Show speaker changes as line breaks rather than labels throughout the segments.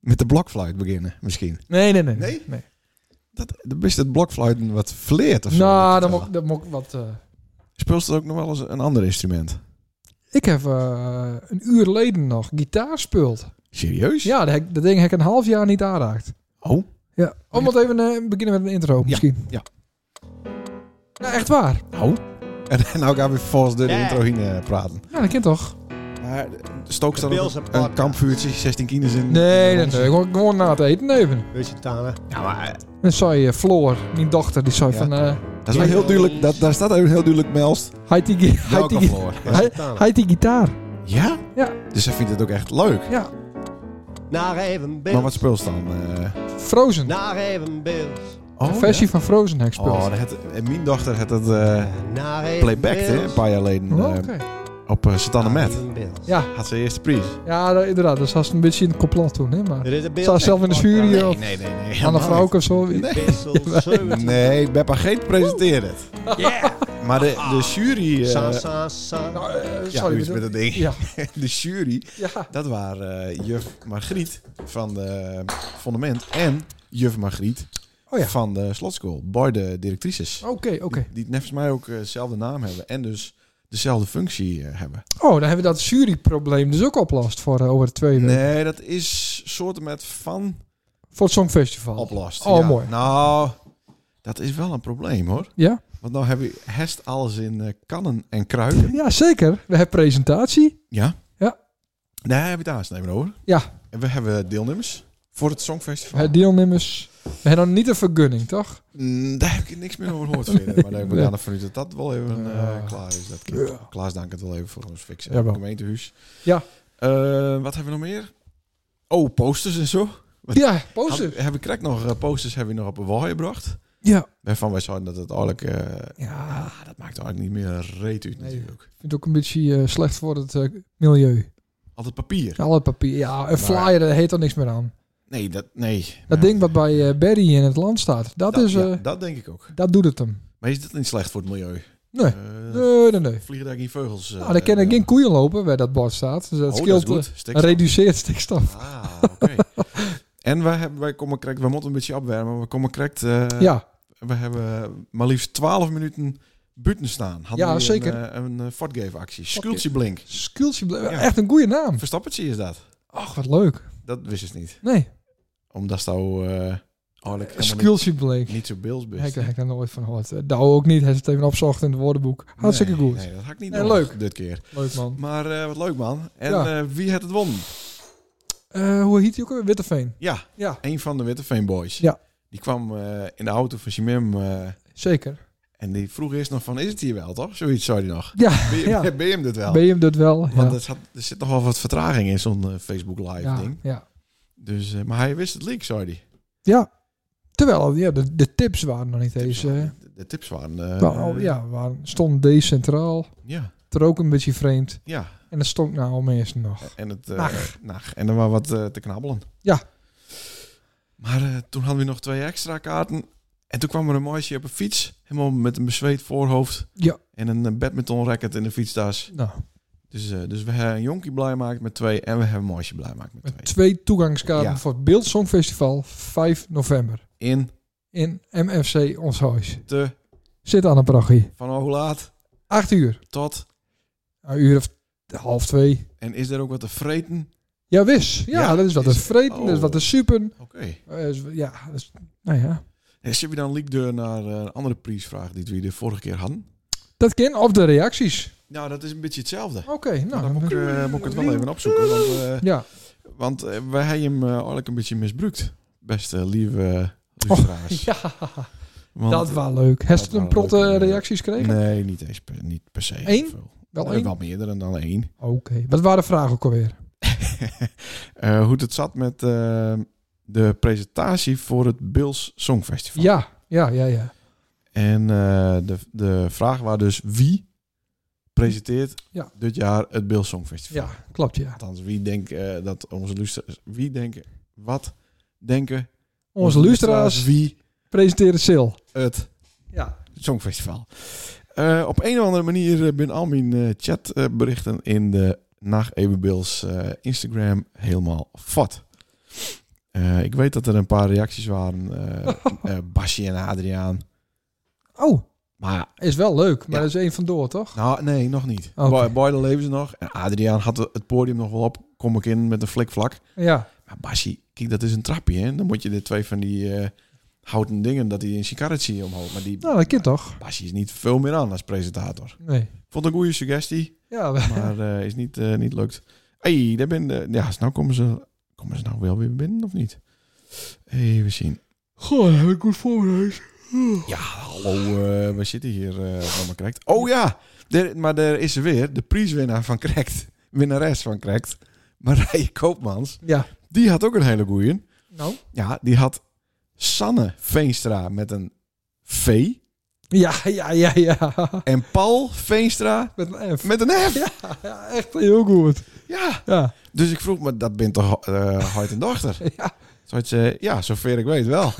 met de blokfluit beginnen, misschien.
Nee, nee, nee.
Nee? Dat, dan is het blokfluiten wat verleerd of zo.
Nou, dan moet, dan moet ik wat... eh,
Speelt het ook nog wel eens een ander instrument?
ik heb eh, een uur geleden nog gitaar gespeeld.
Serieus?
Ja, dat, heb- dat ding heb ik een half jaar niet aangeraakt.
Oh,
Ja, om het even eh, beginnen met een intro misschien.
ja.
Ja, echt waar.
oh. En nou gaan we volgens de
Ja.
intro heen eh, praten.
Ja, dat kent toch?
Maar stook
De
dan
pils en
een, een
pakken.
kampvuurtje, 16 kinderen in.
Nee,
in
nee,
ons.
nee. Gewoon, gewoon na het eten even.
Weet je, Tana?
Ja, maar
En zei eh, Floor, mijn dochter, die zei
Ja.
van... eh
dat is wel heel duidelijk. Dat, daar staat even heel duidelijk melst.
hij die, gi- hij die,
Welkom
gi-
voor.
hij- hij die gitaar.
Ja?
Ja.
Dus hij vindt het ook echt leuk.
Ja,
Naar even Bills.
Maar wat speelt ze dan? eh?
Frozen.
Naar even Bills.
een versie van Frozen heb ik
oh, ja?
gespeeld.
Oh, dat had- en mijn dochter had het eh,
Naar even
playback hè, een paar jaar geleden
Oh,
eh,
Oké.
op uh, Satan Met.
Ja,
Had ze eerste prijs.
ja, dat- inderdaad. Dat was een beetje een complot toen, hè. Maar
Er is een beeld.
Staat zelf in de jury, joh. Nee,
nee, nee.
Anne Vrouwke of zo.
Nee, Beppa Geet presenteert het.
Yeah.
Maar de, de jury... eh,
Sa, sa, sa.
Nou, eh,
ja,
sorry,
u is met dat ding.
Ja,
De jury,
ja.
dat waren eh, juf Margriet van de eh, Fondament en juf Margriet
Oh ja.
van de slotschool. Beide directrices.
Oké, oké.
Die, die net volgens mij ook eh, dezelfde naam hebben en dus dezelfde functie eh, hebben.
Oh, dan hebben we dat juryprobleem dus ook oplost voor eh, over de twee weken.
Nee, dat is soorten met van
Voor het Songfestival.
oplost.
Oh,
ja.
mooi.
Nou, dat is wel een probleem hoor.
Ja?
Want nou heb je hest alles in eh, kannen en kruiken.
ja, zeker. We hebben presentatie.
Ja?
Ja.
Daar heb je het aansnijden over.
Ja.
En we hebben deelnemers voor het Songfestival.
Het deelnemers. We hebben dan niet een vergunning, toch?
Mm, daar heb ik niks meer over gehoord verder. Maar ik ben
Nee.
aan vanuit dat dat wel even eh,
Ja.
klaar is. Dat
Ja.
Klaas dank het wel even voor ons fixen.
Jawel.
Gemeentehuis.
Ja.
Eh, wat hebben we nog meer? Oh, posters en zo. Wat-
Ja, poster.
Hebben heb ik correct nog eh, posters hebben we nog op een wal gebracht.
Ja.
Waarvan wij zouden dat het eigenlijk... eh,
Ja,
ah, dat maakt eigenlijk niet meer een reet uit
Nee.
natuurlijk.
ik vind het ook een beetje eh, slecht voor het eh, milieu.
Altijd papier.
Alle papier. Ja, een
Maar-
flyer, daar heet er niks meer aan.
Nee, dat... Nee.
Dat
Ja.
ding wat bij eh, Barry in het land staat, dat, is...
ja,
eh,
dat denk ik ook.
Dat doet het hem.
Maar is dat niet slecht voor het milieu?
Nee.
Eh,
Nee, nee, nee.
Vliegen daar geen vogels? eh,
Nou, daar kennen
eh,
geen koeien lopen waar dat bord staat. Dus dat
oh,
scheelt,
dat is
eh,
goed. Stikstof.
reduceert stikstof.
Ah, oké. en wij, hebben, wij komen correct, we moeten een beetje opwarmen. We komen correct, eh,
ja,
we hebben maar liefst 12 minuten buiten staan. Hadden
Ja,
we
zeker.
Een, eh, een eh, Fortgave actie. Sculptje Blink.
Skultje, ble-
Ja.
echt een goede naam.
Verstappertje is dat.
Ach, wat leuk.
Dat wist ze niet.
Nee,
Omdat ze nou, eh oh, dat kan maar niet,
Skultje bleek.
niet zo beels best.
Ik heb daar nooit van gehoord. Eh, Douwe ook niet. Hij heeft het even opzocht in het woordenboek. Hartstikke
Nee,
goed.
Nee, dat had ik niet
Nee,
nodig
leuk.
dit keer.
Leuk man.
Maar eh, wat leuk man. En
Ja.
eh, wie had het won?
Eh, hoe heet hij ook alweer? Witteveen.
Ja,
Ja.
een van de Witteveen Boys.
Ja.
Die kwam eh, in de auto van Jimim eh,
Zeker.
En die vroeg eerst nog van, is het hier wel, toch? Zoiets zei hij nog.
Ja,
Ben je,
ja.
ben je hem dit wel?
ben je hem dat wel? Ja.
Want er, zat- er zit nog wel wat vertraging in zo'n eh, Facebook live
ja,
ding.
ja.
Dus, eh, maar hij wist het leak, zei hij.
ja. Terwijl ja, de, de tips waren nog niet eens... eh,
de, de tips waren... eh,
nou, ja, waren, stonden decentraal.
ja.
Het ook een beetje vreemd.
ja.
En dat stonk nou al meestal nog.
En, het, eh,
Nacht.
nacht. en er was wat eh, te knabbelen.
Ja.
Maar eh, toen hadden we nog twee extra kaarten. En toen kwam er een meisje op een fiets. Helemaal met een bezweet voorhoofd.
Ja.
En een eh, badminton racket in de fietstas.
Nou,
Dus, eh, dus we hebben een jonkie blij gemaakt met twee. En we hebben een meisje blij gemaakt met twee.
twee toegangskaarten
Ja.
voor het Beeldsongfestival 5 november.
In
In MFC Ons Huis.
te
Zit aan een prachie.
Van hoe laat
8 uur. Nou,
tot?
Een uur of half twee.
En is er ook wat te vreten?
Ja, wis. Ja,
Ja,
dat is wat
is-
de vreten, dat is
oh.
wat de supen.
Oké.
Eh, is- ja, dat is, nou ja.
En zit je dan liekdeur naar eh, een andere prijsvraag die we de vorige keer hadden?
Dat kan. Of de reacties.
Nou, dat is een beetje hetzelfde.
Oké,
Maar
nou.
dan moet ik,
dan-
eh, moet ik het wel even opzoeken. Want, eh,
ja,
want eh, wij hebben hem eh, eigenlijk een beetje misbruikt. Beste lieve eh, luisteraars.
Oh, ja
Want-
dat was leuk. Heeft
dat
het een
waren
protte
leuke, eh,
reacties gekregen?
Nee, niet, eens per, niet per se.
Eén?
Veel.
Wel
Nee,
één?
Wel meerdere dan één.
Oké. Wat waren de vragen ook alweer?
Eh, hoe het zat met eh, de presentatie voor het Bills Songfestival.
Ja, ja, ja, ja.
En eh, de, de vraag was dus wie presenteert
Ja.
dit jaar het Beeld Songfestival?
Ja, klopt ja.
Althans, wie denkt eh, dat onze luisteraars... Wie denken... Wat denken...
Onze luisteraars
Wie
presenteren Sil.
het
Ja.
Songfestival. Eh, op een of andere manier eh, ben al mijn eh, eh, chatberichten in de Nacht Ebenbeels Instagram helemaal vat. Eh, ik weet dat er een paar reacties waren. eh eh, Basje en Adriaan.
Oh,
Maar
is wel leuk, maar
Ja.
dat is één vandoor, toch?
nou, nee, nog niet.
Oké.
Boy Boyle leven ze nog. En Adriaan had het podium nog wel op. Kom ik in met een flikvlak.
Ja.
Maar Basje, kijk, dat is een trapje. Hè? Dan moet je de twee van die eh, houten dingen dat hij in zijn karretje omhoog. Maar die
Nou, dat kind toch?
Basje is niet veel meer aan als presentator.
Nee.
Vond een goede suggestie,
Ja, we-
maar eh, is niet, eh, niet lukt. hey, daar ben de, ja, nou komen ze, komen ze nou wel weer binnen of niet? Even zien.
Goh, heb ik goed voorbereid.
Ja, hallo, eh, we zitten hier eh van Krekt. Oh ja, er- maar er is ze weer de prijswinnaar van Krekt. Winnares van Krekt. Marije Koopmans.
Ja.
Die had ook een hele goeie.
Nou?
Ja, die had Sanne Veenstra met een V.
Ja, ja, ja, ja.
En Paul Veenstra
Met een F.
met een F. Ja.
Ja, ja, echt heel goed. Ja.
Dus ik vroeg me, dat bent toch eh Hart en Dochter?
Ja.
Zoiets, eh, ja, zover ik weet wel.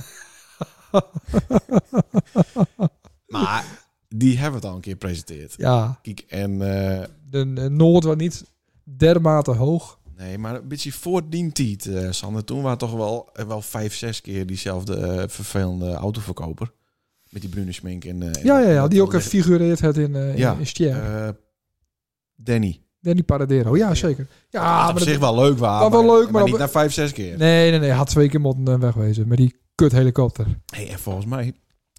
maar die hebben het al een keer gepresenteerd.
Ja.
Kijk, en eh,
De, de Noord was niet dermate hoog.
nee, maar een beetje voor die tijd, eh, Sander. Toen waren toch wel, eh, wel vijf, zes keer diezelfde eh, vervelende autoverkoper. Met die brune smink en... eh, en
Ja, ja, ja.
dat-
Die ook
dat-
figureert het in, eh in,
Ja.
in Stier.
eh, Danny.
Danny Paradero. Ja, zeker. Ja,
Ah,
maar
op
dat-
zich wel leuk waren.
Maar wel leuk, maar op-
niet na vijf, zes keer.
Nee, nee, nee. Had twee keer moeten eh, wegwezen. Met die kut helikopter.
Hey, en volgens mij,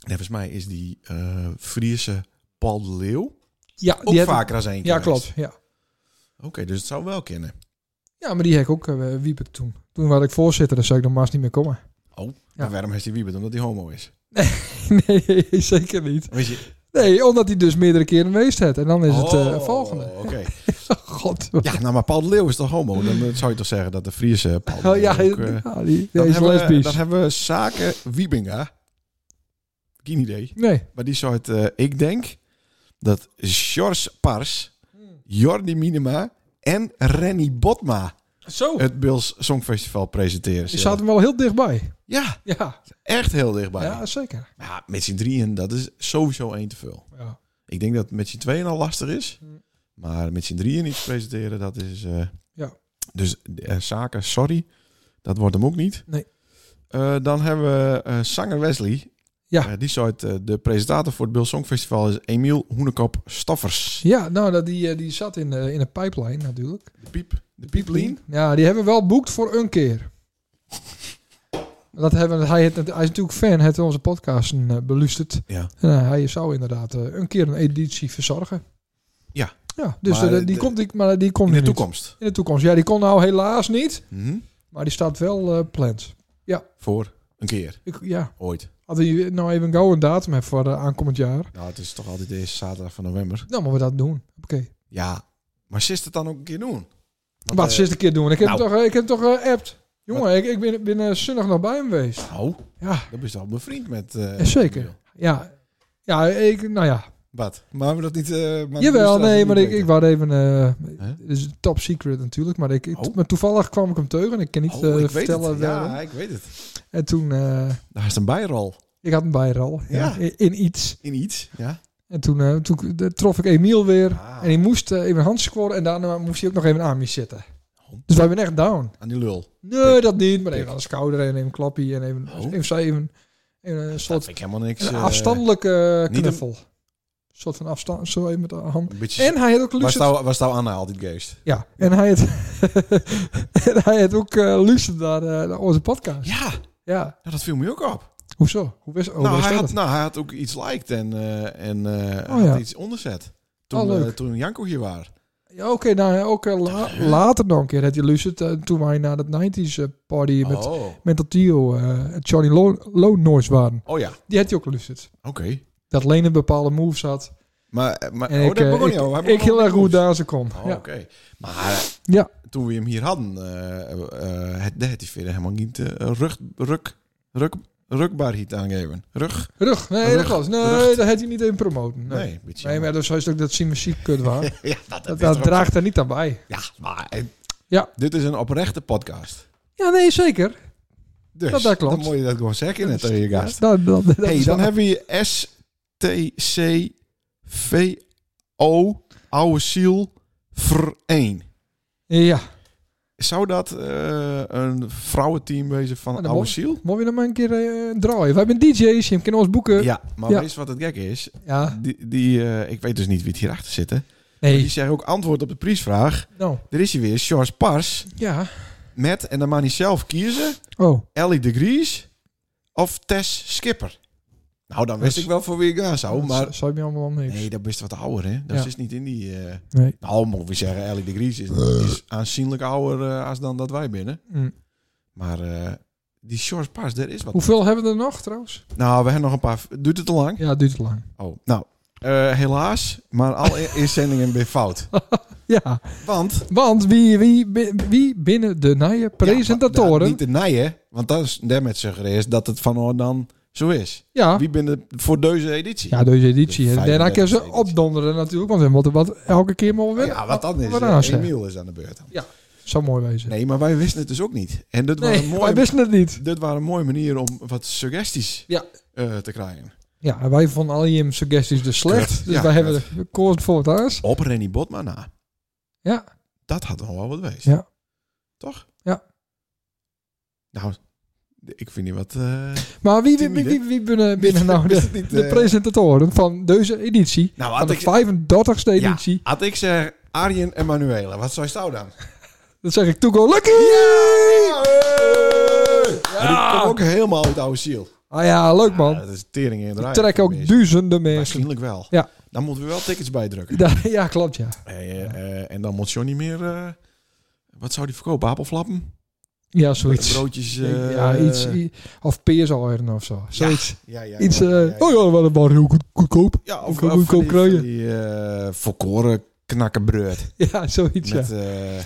volgens mij is die eh, Friese Paul de Leeuw
Ja,
ook
die heb-
vaker als één keer
Ja,
geweest.
klopt. Ja.
Oké, dus het zou wel kennen.
ja, maar die heb ik ook eh wiepen toen. Toen was ik voorzitter, dus zou ik nog maar eens niet meer komen.
Maar waarom heeft hij Wiebert? Omdat hij homo is.
Nee, zeker niet.
Weet je?
Nee, omdat hij dus meerdere keren geweest had. En dan is het eh,
Oh,
volgende.
Oké.
God.
Ja, nou, maar Paul de Leeuw is toch homo? Dan eh, zou je toch zeggen dat de Friese Paul de
Oh ja,
Leeuw ook, eh,
ja, die, die
dan,
is
hebben we,
lesbisch.
dan hebben we Zaken Wiebinga. Geen idee.
Nee.
Maar die soort, eh, ik denk dat George Pars, Jordi Minima en Renny Botma
Zo.
het Bills Songfestival presenteren.
Je zat hem wel heel dichtbij.
Ja,
Ja,
echt heel dichtbij.
ja zeker.
Maar met z'n drieën, dat is sowieso één te veel.
Ja.
Ik denk dat met z'n tweeën al lastig is.
Mm.
Maar met z'n drieën iets presenteren, dat is... eh,
Ja.
Dus eh, zaken, sorry. Dat wordt hem ook niet.
Nee.
Eh, dan hebben we eh, zanger Wesley.
Ja.
Eh, die soort, eh, de presentator voor het Bill Songfestival is Emiel Hoenekop Staffers.
ja, nou, dat, die, eh, die zat in, eh, in een pipeline natuurlijk.
De piep. De pieplien.
Ja, die hebben we wel boekt voor een keer. Dat hebben, hij, het, hij is natuurlijk fan, hij heeft onze podcasten eh, belusterd.
Ja.
En, eh, hij zou inderdaad eh, een keer een editie verzorgen.
Ja.
Ja, dus
Maar
eh, die,
de-
komt, die, maar die kon
In
nu
de
niet.
toekomst.
In de toekomst. Ja, die kon nou helaas niet,
Mhm.
maar die staat wel eh, plant.
Voor een keer.
Ik, ja,
Ooit.
had hij nou even gauw een datum hebben voor eh, aankomend jaar,
Nou, het is toch altijd de eerste zaterdag van november.
dan moeten we dat doen. Oké.
Ja. Maar zist het dan ook een keer doen? Want,
Wat
eh,
ze eens een keer doen. Ik heb
nou.
hem toch, ik heb hem toch eh, appt. Jongen, ik, ik ben, ben eh, zondag nog bij hem geweest.
Nou,
Ja.
dan ben je al bevriend met... eh,
Ja, zeker.
Emiel.
Ja, ja ik, nou ja.
Wat? Maar we dat niet... eh, maar
Jawel,
de luisteraars
nee,
niet
maar ik,
weten.
ik was even... eh
Hè?
Het is top secret natuurlijk, maar, ik, ik-
Oh.
maar toevallig kwam ik hem tegen en ik kan niet
Oh,
eh,
ik weet
vertellen
het.
waarom.
Ja, ik weet het.
En toen, eh,
Daar is een bijrol
ik had hem bij er al, ja,
Ja.
in, in iets.
in iets. Ja.
En toen, eh, toen eh, trof ik Emiel weer
Ah.
en die moest eh, even hand scoren en daarna moest hij ook nog even aan me zitten.
Oh.
Dus wij zijn echt down.
Aan die lul.
Nee, dat niet, maar even
Pik.
aan de schouder en even een klappie en even,
Oh.
even, zo even, even een
Dat
soort
vind ik helemaal niks.
een
eh,
afstandelijke
niet een-
knuffel. Een soort van afstand, zo even met de hand.
Een beetje...
En hij had ook
Waar
luxe
staan waar staan Anna altijd geest?
Ja, en hij het, en hij het ook eh luisterd naar, eh, naar onze podcast.
Ja,
Ja,
nou, dat viel me ook op.
hoezo? Hoe wist, hoe
nou,
wist
hij
hij
had,
dat?
nou, hij had ook iets liked en, eh en eh,
Oh,
hij had
ja.
iets onderzet. Toen,
Oh, leuk.
eh, toen Janko hier was.
Ja, Oké, nou ja, ook eh, la- later nog een keer had hij luisterd eh, toen wij naar dat 90s eh, party met
Oh.
Mental Tio, eh, Johnny Low, Low Noise waren.
oh ja,
Die had hij ook geluisterd.
oké.
Dat Lenen bepaalde moves had.
Maar, maar
En
oh,
ik,
daar
eh,
begon
ik,
je al. Hij
ik
begon
heel
al
erg
met
goed
moves.
daar ze kom.
Oh,
ja.
oké. Maar eh,
Ja.
toen we hem hier hadden, eh eh, het deed hij verder helemaal niet eh, rug, ruk, ruk, rukbaarheid aangeven. Rug?
Rug, nee,
Rug.
dat klopt. Nee,
Rug.
dat had hij niet in promoten. Nee,
Nee,
nee,
een beetje
maar dat is ook dat Simusiek kut was.
jammer. ja, dat,
dat
is
dat
er ook
draagt er niet aan bij.
zo. Ja, maar eh,
Ja.
dit is een oprechte podcast.
Ja, nee, zeker.
Dus
Dat- dat klopt.
dan moet je dat gewoon zeggen net
Dat
tegen je gast.
Ja, dat- dat- dat
hey,
is
dan
waar.
hebben we je STCVO Oude Ziel Vereen.
Ja,
Zou dat eh, een vrouwenteam wezen van
En
oude
dan mo-
ziel?
Mogen we nog maar een keer eh, draaien? Wij zijn DJ's, je kan ons boeken. Ja.
Ja, maar
Eh, ja.
weet je wat het gek is? Die, die, eh, ik weet dus niet wie het hierachter zit. Hè? Maar Die
Nee.
zeggen ook antwoord op de prijsvraag.
Nou,
Er is hij weer, George Pars.
ja.
Met, en dan mag hij zelf kiezen,
Oh,
Ellie de Vries of Tess Skipper. Nou, dan wist
Dat-
ik wel voor wie ik gaan zou,
Dus- dat
Nou, maar...
zou je me allemaal niks.
Nee, dat is wat ouder, hè? Dat
Ja.
is niet in die... eh,
Nee.
Nou, moet we zeggen, Ellie de Vries is, is aanzienlijk ouder eh, als dan dat wij binnen.
Hm.
Maar eh, die George Pars, daar is wat.
Hoeveel hebben we er nog trouwens?
Nou, we hebben nog een paar... Duurt het te lang?
Ja, het duurt te lang.
Oh, nou, eh, helaas, maar alle inzendingen weer fout.
Ja,
Want...
want wie, wie, bi- wie binnen de nije
Ja, maar nou,
presentatoren...
Niet te nijen, want dat is daarmee suggereert dat het van hoor dan zo is.
Ja,
Wie ben de voor deze editie?
Ah. ja, deze editie.
De
hè. Daarna kunnen ze
35e editie.
opdonderen natuurlijk, want we moeten wat elke keer maar weer...
Ja, wat dan is.
Wat
eh,
dan is, hè?
Emiel is aan de beurt. dan.
Zou mooi wezen.
Nee, maar wij wisten het dus ook niet. En dit
Nee,
waren
wij
mooie,
wisten het niet.
dit waren mooie manieren om wat suggesties
Ja.
eh, te krijgen.
Ja, en wij vonden al je suggesties dus slecht.
Kut.
Dus
Ja,
wij
kut.
hebben de koers voor het huis.
Op Rennie Botma na.
Ja.
Dat had nog wel wat wees.
Ja.
Toch?
Ja.
Nou, ik vind niet wat... eh,
Maar wie, wie,
Timide.
wie, wie, wie binnen, binnen nou
wist
de,
het niet,
de
eh.
presentatoren van deze editie?
Nou,
Van
had
de
ik, Ja.
35e editie.
had ik zeg Arjen en Manuela, wat zou je nou dan?
Dat zeg ik, to go lucky!
Maar die komt ook helemaal uit oude ziel.
Ah ja, leuk
Ja,
man.
dat is tering in de
Ik
rij.
trek ook duizenden mensen.
Waarschijnlijk wel.
Ja.
Dan moeten we wel tickets bijdrukken.
Da- Ja, klopt ja.
Eh, eh, en dan moet Johnny meer... eh, wat zou die verkopen? Appelflappen?
Ja, zoiets.
Broodjes? eh,
ja, iets, i- of peersoieren of zo. Zoiets.
Ja, ja,
iets,
ja,
eh,
ja, ja.
oh ja, wel een bar heel goed, goedkoop.
Ja,
of
of,
kan
of
ik ook
van die,
kruien?
van die eh volkoren knakkenbreud.
Ja, zoiets
Met,
ja.
eh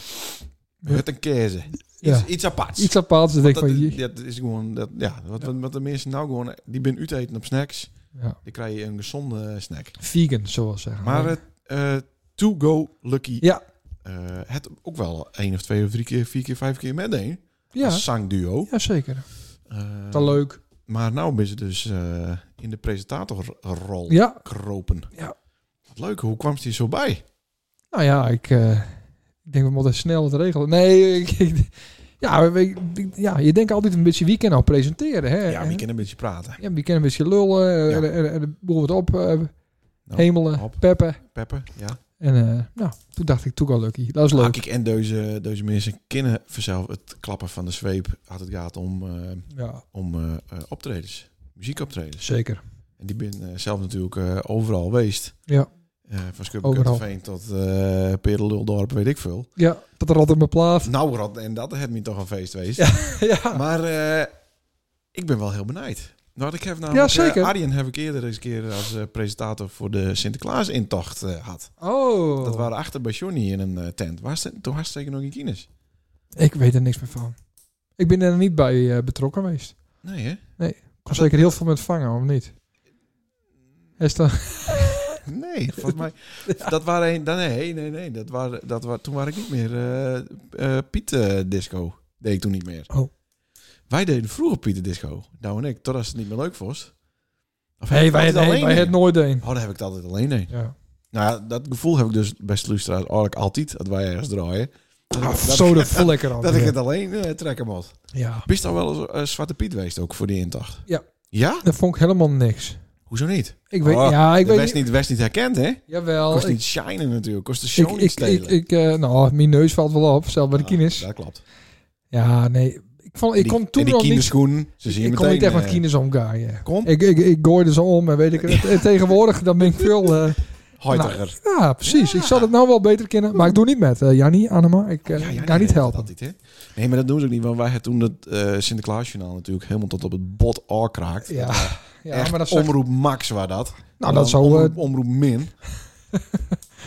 met een kaas. Iets,
ja.
iets aparts.
Iets apart, dus
Want
denk ik
dat,
van...
is-
je-
dat is gewoon... Dat, ja, wat, wat- wat de mensen nou gewoon... Die ben uit eten op snacks.
Ja.
Dan krijg je een gezonde snack.
Vegan, zoals zeggen.
Maar het eh, To Go Lucky...
Ja.
eh, het ook wel één of twee of drie keer, vier keer, vijf keer met één.
ja.
Als zangduo.
ja, zeker.
Eh,
Dat leuk.
maar nou ben ze dus eh, in de presentatorrol
Ja,
kropen.
Ja.
Wat Leuk, hoe kwam ze hier zo bij?
nou ja, ik eh, ik denk we moeten snel het regelen. Nee, ik, ik- ja, we- ik- ja, je denkt altijd een beetje wie kan nou presenteren. Hè?
Ja, we kunnen een beetje praten.
Ja, wie kan een beetje lullen, eh,
Ja.
en, en, en de boel wordt op, eh,
Nou,
hemelen,
hop.
peppen.
Peppe, ja.
En eh, nou, toen dacht ik, toegang lucky. Dat is leuk.
Hak ik en deze, deze mensen kennen vanzelf het klappen van de zweep. Had het gaat om, eh,
Ja,
om eh, eh, optredens, muziekoptredens.
zeker.
En die ben eh, zelf natuurlijk eh, overal geweest.
Ja.
Eh, van
Overal.
Schubbekutteveen tot eh Pereluldorp, weet ik veel.
Ja, dat rot op mijn plaat.
Nou, Rod, en dat heb je toch een feest geweest.
ja.
Maar eh, ik ben wel heel benijd. Nou, ik heb namelijk,
Ja, zeker.
eh, Arjen heb ik eerder eens een keer als eh, presentator voor de Sinterklaas-intocht eh, had.
Oh.
Dat waren achter bij Johnny in een eh, tent. Waar ze- toen was het zeker nog in kines.
Ik weet er niks meer van. Ik ben er niet bij eh, betrokken geweest.
Nee, hè?
Ik was zeker heel veel met vangen, of niet? Is dat...
Nee, volgens mij. Dat waren een, dan, nee, nee, nee. Dat waren, dat waren, toen was ik niet meer eh, eh, Piet eh, Disco. Deed ik toen niet meer.
Oh.
Wij deden vroeger Pieter Disco. Nou en ik, totdat ze het niet meer leuk was. Of heb
Nee,
ik
wij
altijd
het, nee,
alleen
wij
heen?
het nooit een.
Oh, dan heb ik het altijd alleen heen.
Ja.
Nou ja, dat gevoel heb ik dus bij Sluistraat eigenlijk altijd, dat wij ergens draaien. Dat, ik,
Ah,
dat,
zo,
ik,
dat voel ik er al.
dat ik
weer.
het alleen eh, trekken moet.
Ja,
Bist al wel eens eh, Zwarte Piet geweest ook voor die intocht?
Ja.
Ja?
dat vond ik helemaal niks.
Hoezo niet?
Ik weet,
Oh,
ja, ik
de
weet
West
niet.
niet, West niet herkend, hè?
Jawel.
Kost
ik-
niet shinen natuurlijk, kost de
Ik,
show niet
ik,
stelen.
ik, ik, eh, nou, mijn neus valt wel op, zelfs bij de
Ja,
kines.
Dat klopt.
Ja, nee. Ik, vond, ik
En die-
kon toen
en die
nog niet...
kinderschoenen, ze zien
Ik kon
meteen...
niet echt met
eh,
kines omgaan, ja.
Kom,
Ik, ik, ik gooide ze om en weet ik het. En tegenwoordig, dan ben ik veel... eh,
hoitiger.
ja, precies.
Ja.
Ik zal het nou wel beter kennen. Maar ik doe niet met. eh Jannie, Annema, ik eh,
ja,
ga
nee,
niet
dat
helpen.
altijd, hè? Nee, maar dat doen ze ook niet, want wij hebben toen het eh Sinterklaasjournaal natuurlijk helemaal tot op het bot aankraakt.
Ja,
Dat was
Ja,
echt
maar dat zou...
omroep max waar dat.
Nou,
Dan
dat zou... eh,
omroep, omroep min.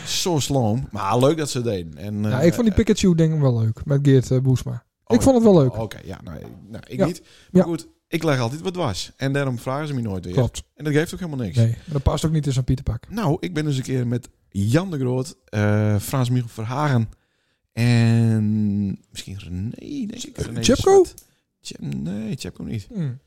Zo sloom. Maar leuk dat ze het deden. En,
ja,
eh,
ik vond die
eh,
Pikachu-ding wel leuk. Met Geert eh, Boesma.
oh,
ik vond het wel leuk.
Oké, ja. Nou, ik- nou, ik
Ja.
niet. Maar
Ja.
goed, ik leg altijd wat was. En daarom vragen ze me nooit weer.
Klopt.
En dat geeft ook helemaal niks.
Nee, maar dat past ook niet in zo'n Pieterpak.
Nou, ik ben dus een keer met Jan de Groot, eh Frans Michel Verhagen en misschien René, denk ik. René de
Tjepko?
Zwart. Tje- nee, Chepko niet.
Hmm.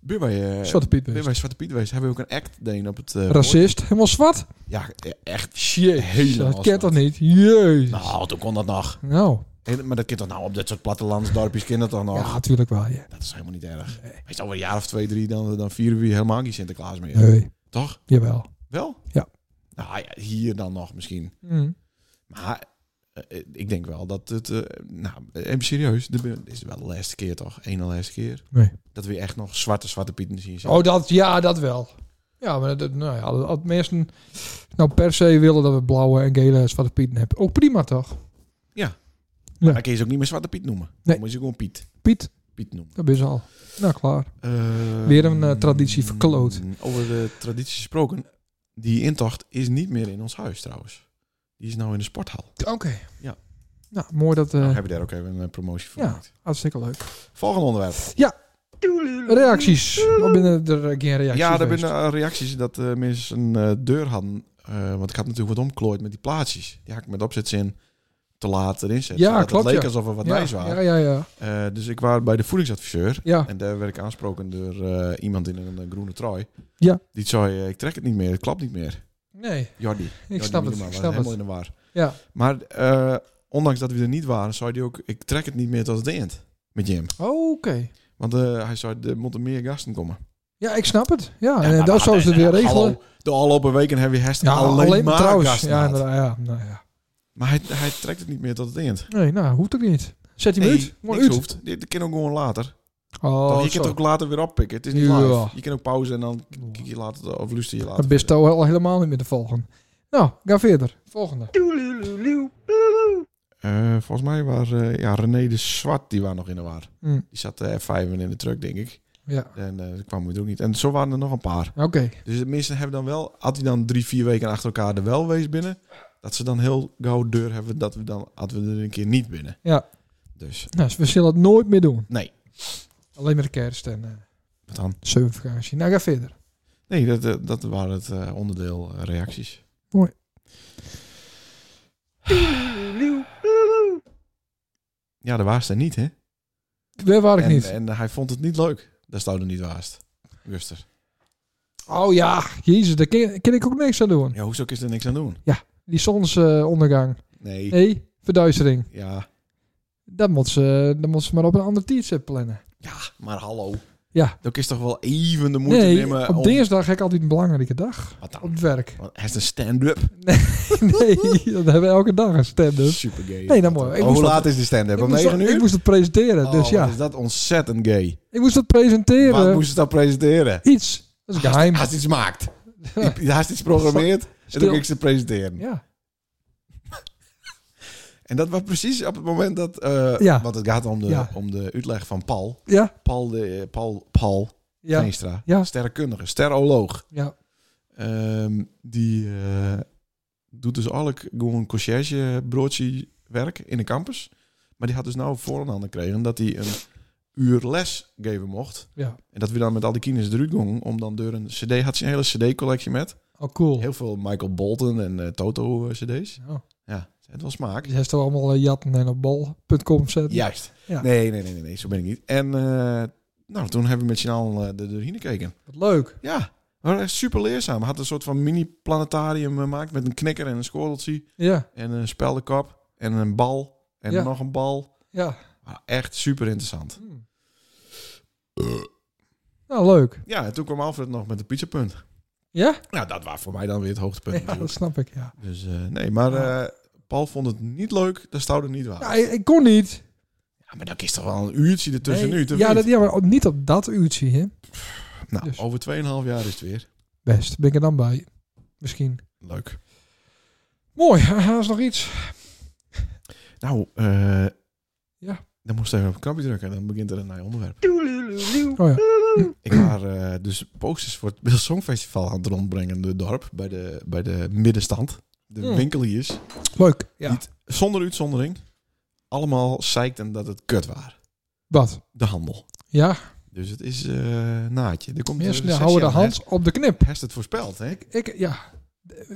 Ben bij, eh
Zwarte Piet
ben
wees.
bij Zwarte Piet geweest. Hebben we ook een act deen op het... eh,
Racist. Helemaal zwart.
woord. Ja, eh, echt.
Shit.
Helemaal
Dat
zwart.
kent dat niet. Jezus.
Nou, toen kon dat nog.
Nou,
En- maar dat kind toch nou op dat soort plattelandsdorpjes kind dat dan nog.
Ja, natuurlijk wel. Ja.
Dat is helemaal niet erg. Hij is alweer een jaar of twee, drie, dan, dan vieren we hier helemaal geen Sinterklaas meer.
Nee,
Toch?
jawel.
Wel?
Ja.
Nou ja, hier dan nog misschien.
Mm.
Maar eh, eh, ik denk wel dat het... eh, nou, eh, even serieus. Dit is wel de laatste keer toch? Eén laatste keer.
Nee.
Dat we echt nog zwarte, zwarte pieten zien zitten.
Oh, dat, ja, dat wel. Ja, maar dat, nou ja, als- als mensen nou per se willen dat we blauwe en gele en zwarte pieten hebben. Ook prima toch?
Maar dan kun je ze ook niet meer zwarte piet noemen.
Nee.
Dan moet je ze gewoon Piet.
Piet,
Piet noemen.
dat is al. Nou, klaar.
Eh,
Weer een, eh, traditie verkloot.
Mm, Over de traditie gesproken. Die intocht is niet meer in ons huis trouwens. Die is nou in de sporthal.
Oké.
Ja.
Nou, mooi dat... eh
Nou, hebben we daar ook even een eh, promotie voor
Ja.
gemaakt.
hartstikke leuk.
Volgende onderwerp.
Reacties. Wat binnen er eh, geen reacties
ja, daar
geweest?
binnen eh, reacties dat eh, mensen een eh, deur hadden. Eh, want ik had natuurlijk wat omklooid met die plaatsjes. Die had ik met opzetzin te laat erin zetten.
Ja,
zodat
klopt,
Het leek
ja.
alsof er wat
ja,
nijs waren.
Ja, ja, ja.
Eh, dus ik was bij de voedingsadviseur.
Ja,
En daar werd ik aansproken door eh, iemand in een eh, groene trui.
Ja.
Die zei, eh, ik trek het niet meer, het klapt niet meer.
nee.
Jordi.
Ik snap het, ik snap
helemaal
het.
in de war.
Ja.
Maar eh, ondanks dat we er niet waren, zei hij ook, ik trek het niet meer tot het eind. Met Jim.
Oh, Oké.
Want eh, hij zei, er moeten meer gasten komen.
Ja, ik snap het. Ja, en
maar
dat
wat-
zouden ze
eh,
weer
hallo,
regelen.
de afgelopen weken hebben we herst
Ja,
alleen, maar
trouwens.
gasten
Ja,
gehad.
inderdaad, ja, nou ja.
Maar hij, hij trekt het niet meer tot het eind.
Nee, nou, hoeft ook niet. Zet die
Nee,
uit. Gewoon
niks
uit.
hoeft. Dit kan ook gewoon later.
Oh,
je kunt het ook later weer oppikken. Het is niet
Ja.
live. Je kan ook pauze en dan kijk je later of luister je later.
Dan bist al al helemaal niet meer te volgen. Nou, ga verder. Volgende.
Eh, volgens mij was ja, René de Zwart die was nog in de war.
Mm,
Die zat eh F5 in de truck, denk ik.
ja,
En eh, dat kwam het ook niet. En zo waren er nog een paar.
oké.
Dus de mensen hebben dan wel, had hij dan drie, vier weken achter elkaar er wel wees binnen, dat ze dan heel gauw deur hebben dat we dan, hadden we er een keer niet binnen.
Ja.
Dus,
Nou, we zullen het nooit meer doen.
nee.
Alleen maar de kerst en eh
Wat dan?
zomervakantie. Nou, ga verder.
Nee, dat, eh, dat waren het eh, onderdeel eh, reacties.
Mooi.
Ja, de waast er niet, hè?
Daar waar ik
en, eh,
niet.
en hij vond het niet leuk. Dat stond er niet waast. Guster.
oh ja, jezus, daar kan, kan ik ook niks aan doen.
Ja, hoezo is er niks aan doen?
Die zonsondergang.
Nee.
nee, verduistering.
Ja.
Dat moet, ze, dat moet ze maar op een ander tijdstip plannen.
Ja, maar hallo.
Ja.
Dan is toch wel even de moeite
Nee,
nemen
op
om-
dinsdag heb ik altijd een belangrijke dag.
Wat dan?
Op het werk.
Want Hij is een stand-up.
nee, dat hebben we elke dag een stand-up.
Super gay.
Nee, dan mooi. Ik
Oh,
moest
hoe
dat-
laat is de stand-up?
Ik
Om
moest, dat,
9 uur?
ik moest het presenteren,
Oh,
dus ja.
wat is dat ontzettend gay.
Ik moest dat
Wat
presenteren.
moest Ah, ze dat presenteren?
Iets. Dat is geheim.
Hij is iets maakt. Hij is iets programmeerd. En
Stil.
dan ik ze presenteren.
Ja.
En dat was precies op het moment dat... eh,
Ja.
Want het gaat om de,
Ja.
om de uitleg van Paul.
Ja.
Paul, de, eh, Paul, Paul
Ja.
Veenstra.
Ja.
Sterrenkundige, steroloog.
Ja.
Ehm, die eh, doet dus eigenlijk gewoon conciërge broodje werk in de campus. Maar die had dus nou voor een handen gekregen dat hij een uur les geven mocht.
Ja.
En dat we dan met al die kinderen eruit gingen, om dan door een cd, had ze een hele cd-collectie met.
Oh, cool.
Heel veel Michael Bolton en eh, Toto eh, cd's.
Oh.
Ja, het was smaak.
Je hebt toch allemaal eh, jatten en op bol.com zetten?
Juist.
Ja.
Nee, nee, nee, nee, nee, zo ben ik niet. En eh, nou, toen hebben we met z'n allen eh, er doorheen gekeken.
Wat leuk.
Ja, dat was echt super leerzaam. Had een soort van mini-planetarium gemaakt met een knikker en een scorreltje.
Ja.
En een speldenkop. En een bal. En
Ja.
nog een bal.
Ja.
Ah, Echt super interessant.
Hm. Nou, leuk.
Ja, en toen kwam Alfred nog met een pizzapunt.
Ja?
Nou, dat was voor mij dan weer het hoogtepunt.
Ja, dat
natuurlijk.
snap ik, ja.
Dus eh, nee, maar eh, Paul vond het niet leuk. Dat stoude niet waar.
ja ik, ik kon niet.
Ja, maar dan is toch wel een uurtje ertussen
Nee.
nu. te
ja,
vriend.
dat, ja, maar niet op dat uurtje, hè.
Nou,
dus.
over 2,5 jaar is het weer.
Best. Ben ik er dan bij. Misschien.
Leuk.
Mooi. Haast nog iets.
Nou, eh,
Ja.
dan moest hij even op het knopje drukken en dan begint er een nieuw onderwerp.
Oh ja.
Ik was eh, dus posters voor het Beeld Songfestival aan het rondbrengen in het dorp. Bij de, bij de middenstand. De
Hmm.
winkeliers.
Leuk. Ja.
Niet- Zonder uitzondering. Allemaal zeikten dat het kut waren.
Wat?
De handel.
Ja.
Dus het is eh naadje. Er komt
Mensen
eh,
houden de
recessie aan.
hand op de knip.
Hij heeft het voorspeld, hè?
Ik, ja.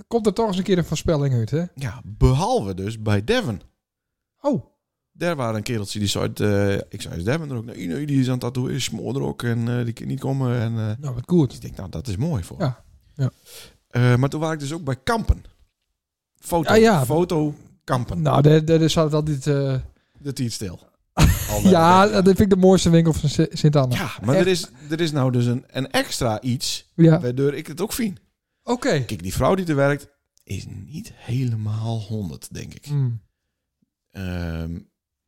Komt er toch eens een keer een voorspelling uit, hè?
Ja, behalve dus bij Devon.
Oh.
Daar waren een kereltje die zei... eh, ik zei, is Devon er ook? Nee, nee, die is aan het tatoeëren. Smoor er ook. En eh, die kan niet komen. En, eh,
Nou, wat goed.
Dus ik denk, nou, dat is mooi voor.
Ja, ja.
Eh, maar toen was ik dus ook bij kampen. Foto,
Ah, Ja, ja.
foto kampen.
Nou, daar, daar zat altijd eh,
de tiet stil.
Ja, dat vind ik de mooiste winkel van Si- Sint-Anne.
Ja, maar er is, er is nou dus een, een extra iets
Ja,
waardoor ik het ook vind.
oké.
Kijk, die vrouw die er werkt is niet helemaal 100, denk ik.
Hmm.
Ehm,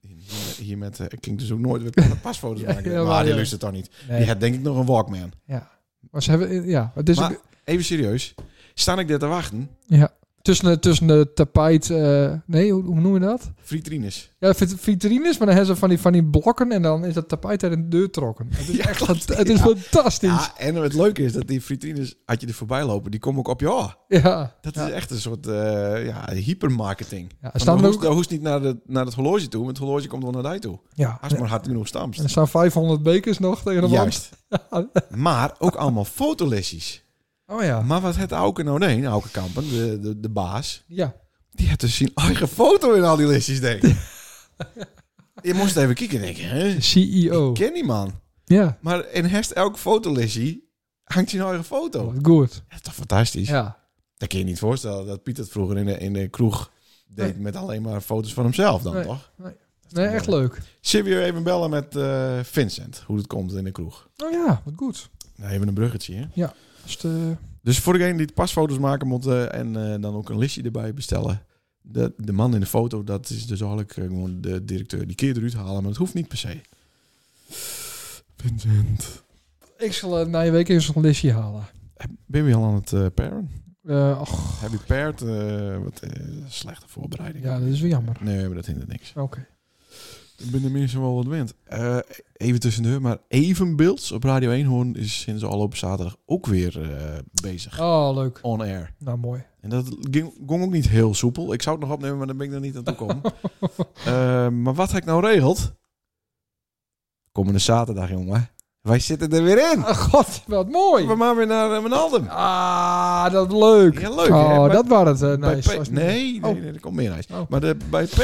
hier, hier met, eh, ik ging dus ook nooit weer pasfoto's
Ja,
maken.
ja,
maar
maar
die
ja.
lust het toch niet.
Nee.
Die had denk ik nog een Walkman.
Maar ze hebben, ja, het is
maar
ook-
even serieus, sta ik daar te wachten?
tussen, de- tussen de tapijt, eh, nee, hoe, hoe noem je dat?
Frietrines.
Ja, vit- vitrines, maar dan hebben ze van die, van die blokken en dan is dat tapijt uit de deur getrokken. Het is,
Ja,
echt,
klopt.
fant- het is
Ja.
fantastisch.
Ja, en het leuke is dat die frietrines, had je er voorbij lopen, die komen ook op je oor.
Ja.
Dat
Ja.
is echt een soort eh, ja, hypermarketing.
Ja, er
Want
staan
dan
er
hoest,
ook,
dan hoest niet naar, de, naar het horloge toe, want het horloge komt wel naar daar toe.
ja,
Als het maar hard genoeg stamst.
en er staan 500 bekers nog tegen de wand.
Juist. maar ook allemaal fotolessies.
Oh ja.
Maar wat het Auken nou nee, Auken Kampen, de, de, de baas,
Ja.
die had dus zijn eigen foto in al die lessies, denk ik. Je moest even kijken, denk ik. hè? Ik
CEO.
ken die man.
E Ja.
Maar in herst elke fotolessie hangt zijn eigen foto.
Wat Goed.
Dat is toch fantastisch?
Ja.
Oh. Dat kun je niet voorstellen dat Piet het vroeger in de, in de kroeg deed
Nee.
met alleen maar foto's van hemzelf dan,
Nee.
toch?
Nee, echt leuk.
Zullen we weer even bellen met eh, Vincent, hoe het komt in de kroeg?
Oh ja, wat goed.
Nou, even een bruggetje, hè?
Als het, eh,
Dus voor degene die pasfoto's maken moet eh, en eh, dan ook een listje erbij bestellen. De, de man in de foto, dat is dus eigenlijk eh, gewoon de directeur. Die keer eruit halen, maar het hoeft niet per se. Vincent.
ik zal eh, na je week eens een listje halen.
Ben je al aan het eh paren?
Eh, och,
Heb je paired? eh, wat eh, slechte voorbereiding.
ja, dat is weer jammer.
Nee, maar dat hindert niks.
Oké.
Ik ben de minstens wel wat wind. Eh, even tussendoor, maar Evenbeelds op Radio 1 Hoorn is sinds afgelopen zaterdag ook weer eh, bezig.
Oh, leuk.
On air.
Nou, mooi.
En dat ging, ging ook niet heel soepel. Ik zou het nog opnemen, maar dan ben ik er niet aan toe komen. Eh, maar wat heb ik nou regeld? Komende zaterdag, jongen. Wij zitten er weer in.
Ah, god, wat mooi.
We maar weer naar eh, Menaldum.
Ah, dat is leuk.
Ja, leuk, hè?
Oh,
Bij-
dat was het. eh,
Bij
nice.
P-
Was het niet-
Nee, nee,
Oh.
nee, er komt meer nice.
Oh.
Maar de, bij P.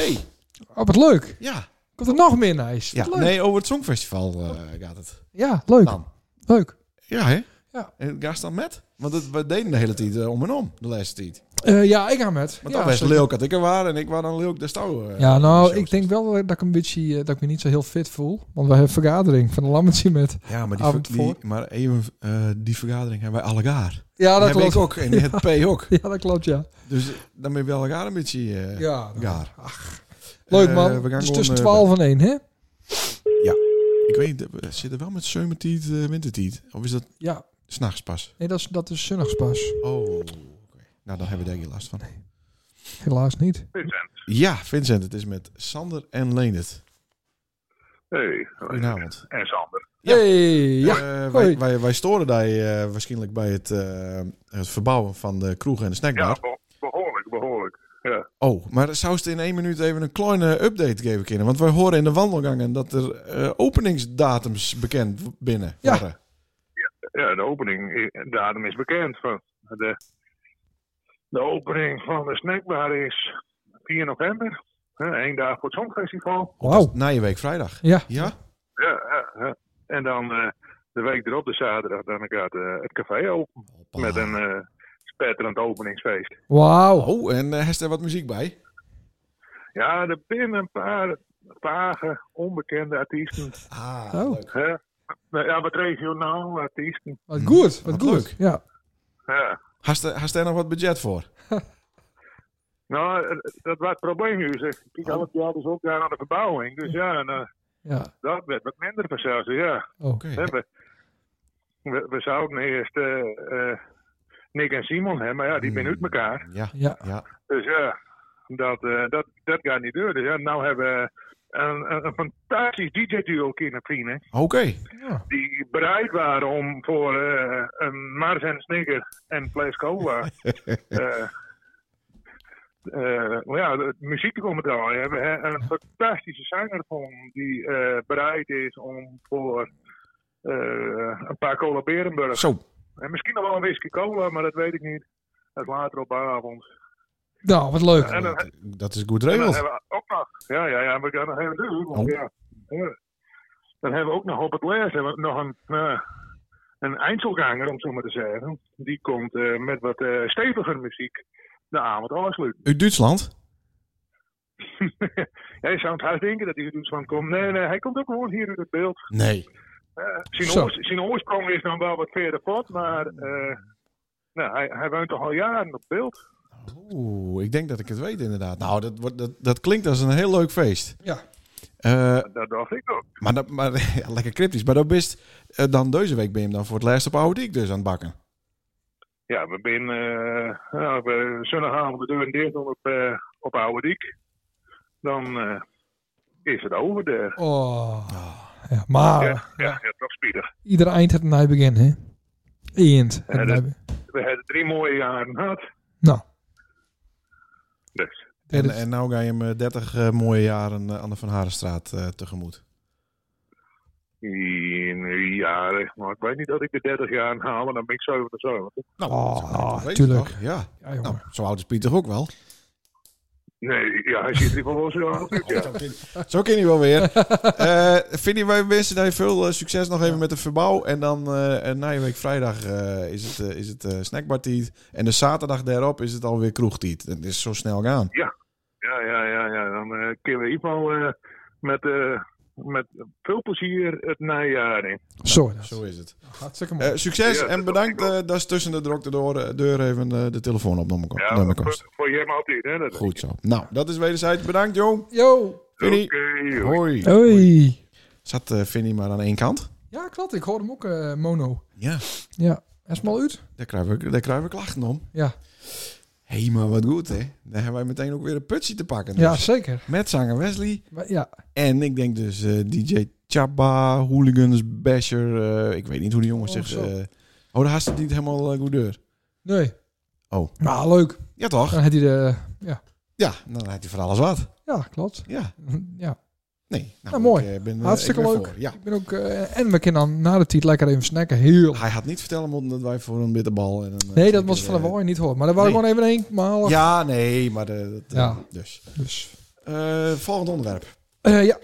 Oh, wat leuk.
Ja.
Komt er nog meer nice.
ja.
Wat leuk.
Nee, over het Songfestival eh, gaat het.
Ja, leuk.
Dan.
Leuk.
Ja, hè?
Ja.
En ga dan met? Want het, we deden de hele tijd eh, om en om, de laatste tijd.
Eh, ja, ik ga met.
Maar
ja,
dan was
zeker.
Leuk dat ik er was en ik was dan Leuk de Stouw. eh,
Ja, nou,
shows.
ik denk wel dat ik een beetje eh, dat ik me niet zo heel fit voel. Want we hebben een vergadering van de Lammetje met.
Ja, maar, die,
Avond
die-
voor.
maar even, eh, die vergadering hebben wij allegaar.
Ja, dat
heb
klopt.
ik ook en het P ook.
Ja, dat klopt, ja.
Dus dan ben je wel elkaar een beetje eh,
ja nou,
gaar.
Leuk,
Eh,
man.
we gaan
dus
gewoon,
tussen
eh,
12 en 1, hè?
ik weet niet, eh, we zitten wel met zomertijd, eh wintertijd. Of is dat
Ja.
s'nachts pas?
Nee, dat is, dat is zonnigs pas.
Oh, oké. nou dan hebben we daar geen last van.
Helaas niet.
Ja, Vincent, het is met Sander en Leendert.
Hey,
Goedenavond.
en Sander.
Ja.
Hey, ja.
Eh, wij,
hoi.
wij, wij storen daar eh, waarschijnlijk bij het, eh, het verbouwen van de kroeg en de snackbar.
Ja, be- behoorlijk, behoorlijk.
Oh, maar zou ze in één minuut even een kleine update geven kunnen? Want wij horen in de wandelgangen dat er eh, openingsdatums bekend binnen
Ja.
worden.
Ja, de opening, eh, datum is bekend. Van de, de opening van de snackbar is 4 november. Hè, Eén dag voor het Songfestival.
Wauw.
Na je week vrijdag.
Ja.
Ja?
Ja, ja, ja. En dan eh, de week erop, de zaterdag, dan gaat eh, het café open. Met een eh, spetterend openingsfeest.
Wauw.
Oh, en eh heeft er wat muziek bij?
Ja, er binnen een paar vage, onbekende artiesten.
Ah,
Oh.
leuk.
Hè? Nou Ja, wat regionaal artiesten.
Wat goed. Wat,
Mm. Wat
goed.
leuk.
Ja.
Ja.
Hast er, hast er nog wat budget voor?
Nou, eh, dat was het probleem nu. Zeg. Ik had het jaar dus ook aan de verbouwing. Dus ja, en, eh,
Ja.
dat werd wat minder vanzelf. Ja.
Oh.
Oké.
Hè, We, we, we zouden eerst eh, eh, Nick en Simon hebben, maar ja, die zijn uit elkaar.
Ja,
Ja.
ja.
Dus ja, dat, eh, dat, dat gaat niet door. Dus ja, nou hebben we een, een, een fantastisch DJ-duo kunnen vrienden.
Oké.
Ja.
Die bereid waren om voor eh, een Mars en Snicker en een fles cola. eh, eh, maar ja, de muziek te komen draaien. We hebben hè, eh, een fantastische zanger van die eh, bereid is om voor eh, een paar cola Berenburg.
Zo.
En misschien nog wel een whisky cola, maar dat weet ik niet. Dat is later op de avond.
Nou, wat leuk.
En dan-
Dat, dat is goed
En dan
regeld.
hebben we ook nog. Ja, ja, ja, we gaan nog even doen. want
Oh.
ja, ja. Dan hebben we ook nog op het les hebben we nog een, eh, een eindselganger, om het zo maar te zeggen. Die komt eh, met wat eh steviger muziek de avond afsluiten.
Uit Duitsland?
Jij zou het huis denken dat hij uit Duitsland komt. Nee, nee, hij komt ook gewoon hier uit het beeld.
Nee.
Eh,
Zo.
zijn, oors- zijn oorsprong is dan wel wat verder voort, maar eh, nou, hij, hij woont toch al jaren op beeld.
Oeh, ik denk dat ik het weet inderdaad. Nou, dat, wordt, dat, dat klinkt als een heel leuk feest.
Ja.
Eh,
Dat dacht ik ook.
maar dat, maar ja, lekker cryptisch. Maar dat best, eh, dan deze week ben je hem dan voor het laatst op Oude Diek dus aan het bakken.
Ja, we zijn eh nou, we zondagavond de deur dicht op, eh op Oude Diek. Dan eh, is het over daar.
Oh. Ja, maar
Ja, ja, ja, toch spiedig.
ieder eind het nij begin, hè? Eind. Het
Ja,
nij
dat-
begin.
We hebben drie mooie jaren gehad.
Nou,
Dus.
dat
En,
is-
en nou ga je hem eh, 30 eh, mooie jaren eh, aan de Van Harenstraat eh, tegemoet.
In die jaren, maar ik weet niet dat ik de 30 jaar haal, maar dan ben ik 77.
Nou,
Oh,
dat kan ik toch weten,
tuurlijk.
toch? Ja.
ja, jongen.
Nou, zo oud is Piet toch ook wel?
Nee, ja, hij ziet er wel zo oud uit. Ja.
Zo ken je wel weer. Eh Vinnie, wij wensen daar veel eh, succes nog even met de verbouw. En dan eh, en na je week vrijdag eh, is het, eh, is het eh snackbartiet. En de zaterdag daarop is het alweer kroegtiet. Dat is zo snel gaan.
Ja, ja, ja, ja. Dan eh kunnen we in ieder geval eh, met, eh, met veel plezier het najaar in.
Zo, dat is
Zo is het.
hartstikke mooi.
nou, Eh, succes
Ja,
en
dat
bedankt
dacht ik
eh, dat is tussen de drokte door, eh, deur even eh, de telefoon op nummer
Ja,
nummer kost.
voor, voor jij maar altijd. Hè, dat
Goed zo. Nou, dat is wederzijds. Bedankt, jong.
Yo!
Vinnie.
Oké, joh.
Hoi.
Hoi!
Zat eh Vinnie maar aan één kant?
Ja, klopt. Ik hoor hem ook, eh, mono.
Ja.
Ja. Hij is mal uit.
Daar krijgen we, daar krijgen we klachten om.
Ja.
Hé, maar wat goed, hè? Dan hebben wij meteen ook weer een putsie te pakken.
Ja,
Dus
zeker.
Met zanger Wesley.
Maar, ja.
En ik denk dus eh, DJ Chaba, Hooligans, Basher. eh, ik weet niet hoe die jongens
Oh,
zich...
zo.
eh oh, daar haast het niet helemaal eh, goed deur.
Nee.
Oh.
Nou, leuk.
Ja, toch?
Dan had hij de...
Ja, dan heeft hij voor alles wat.
Ja, klopt.
Ja,
Ja.
nee. Nou,
Nou, mooi.
Ik, eh, ben, eh,
Hartstikke
ik ben
leuk.
voor, Ja.
Ik ben ook... eh, en we kunnen dan na de titel lekker even snacken. Heel...
Hij had niet vertellen moeten dat wij voor een bitterbal... En een, eh,
Nee, dat
zeker,
was van
eh,
de Wooi niet hoor. Maar daar wou ik
nee.
gewoon even heen. Maar
Ja, nee, maar... eh, dat, eh,
Ja.
Dus.
Dus...
Eh, volgend onderwerp.
Eh, ja,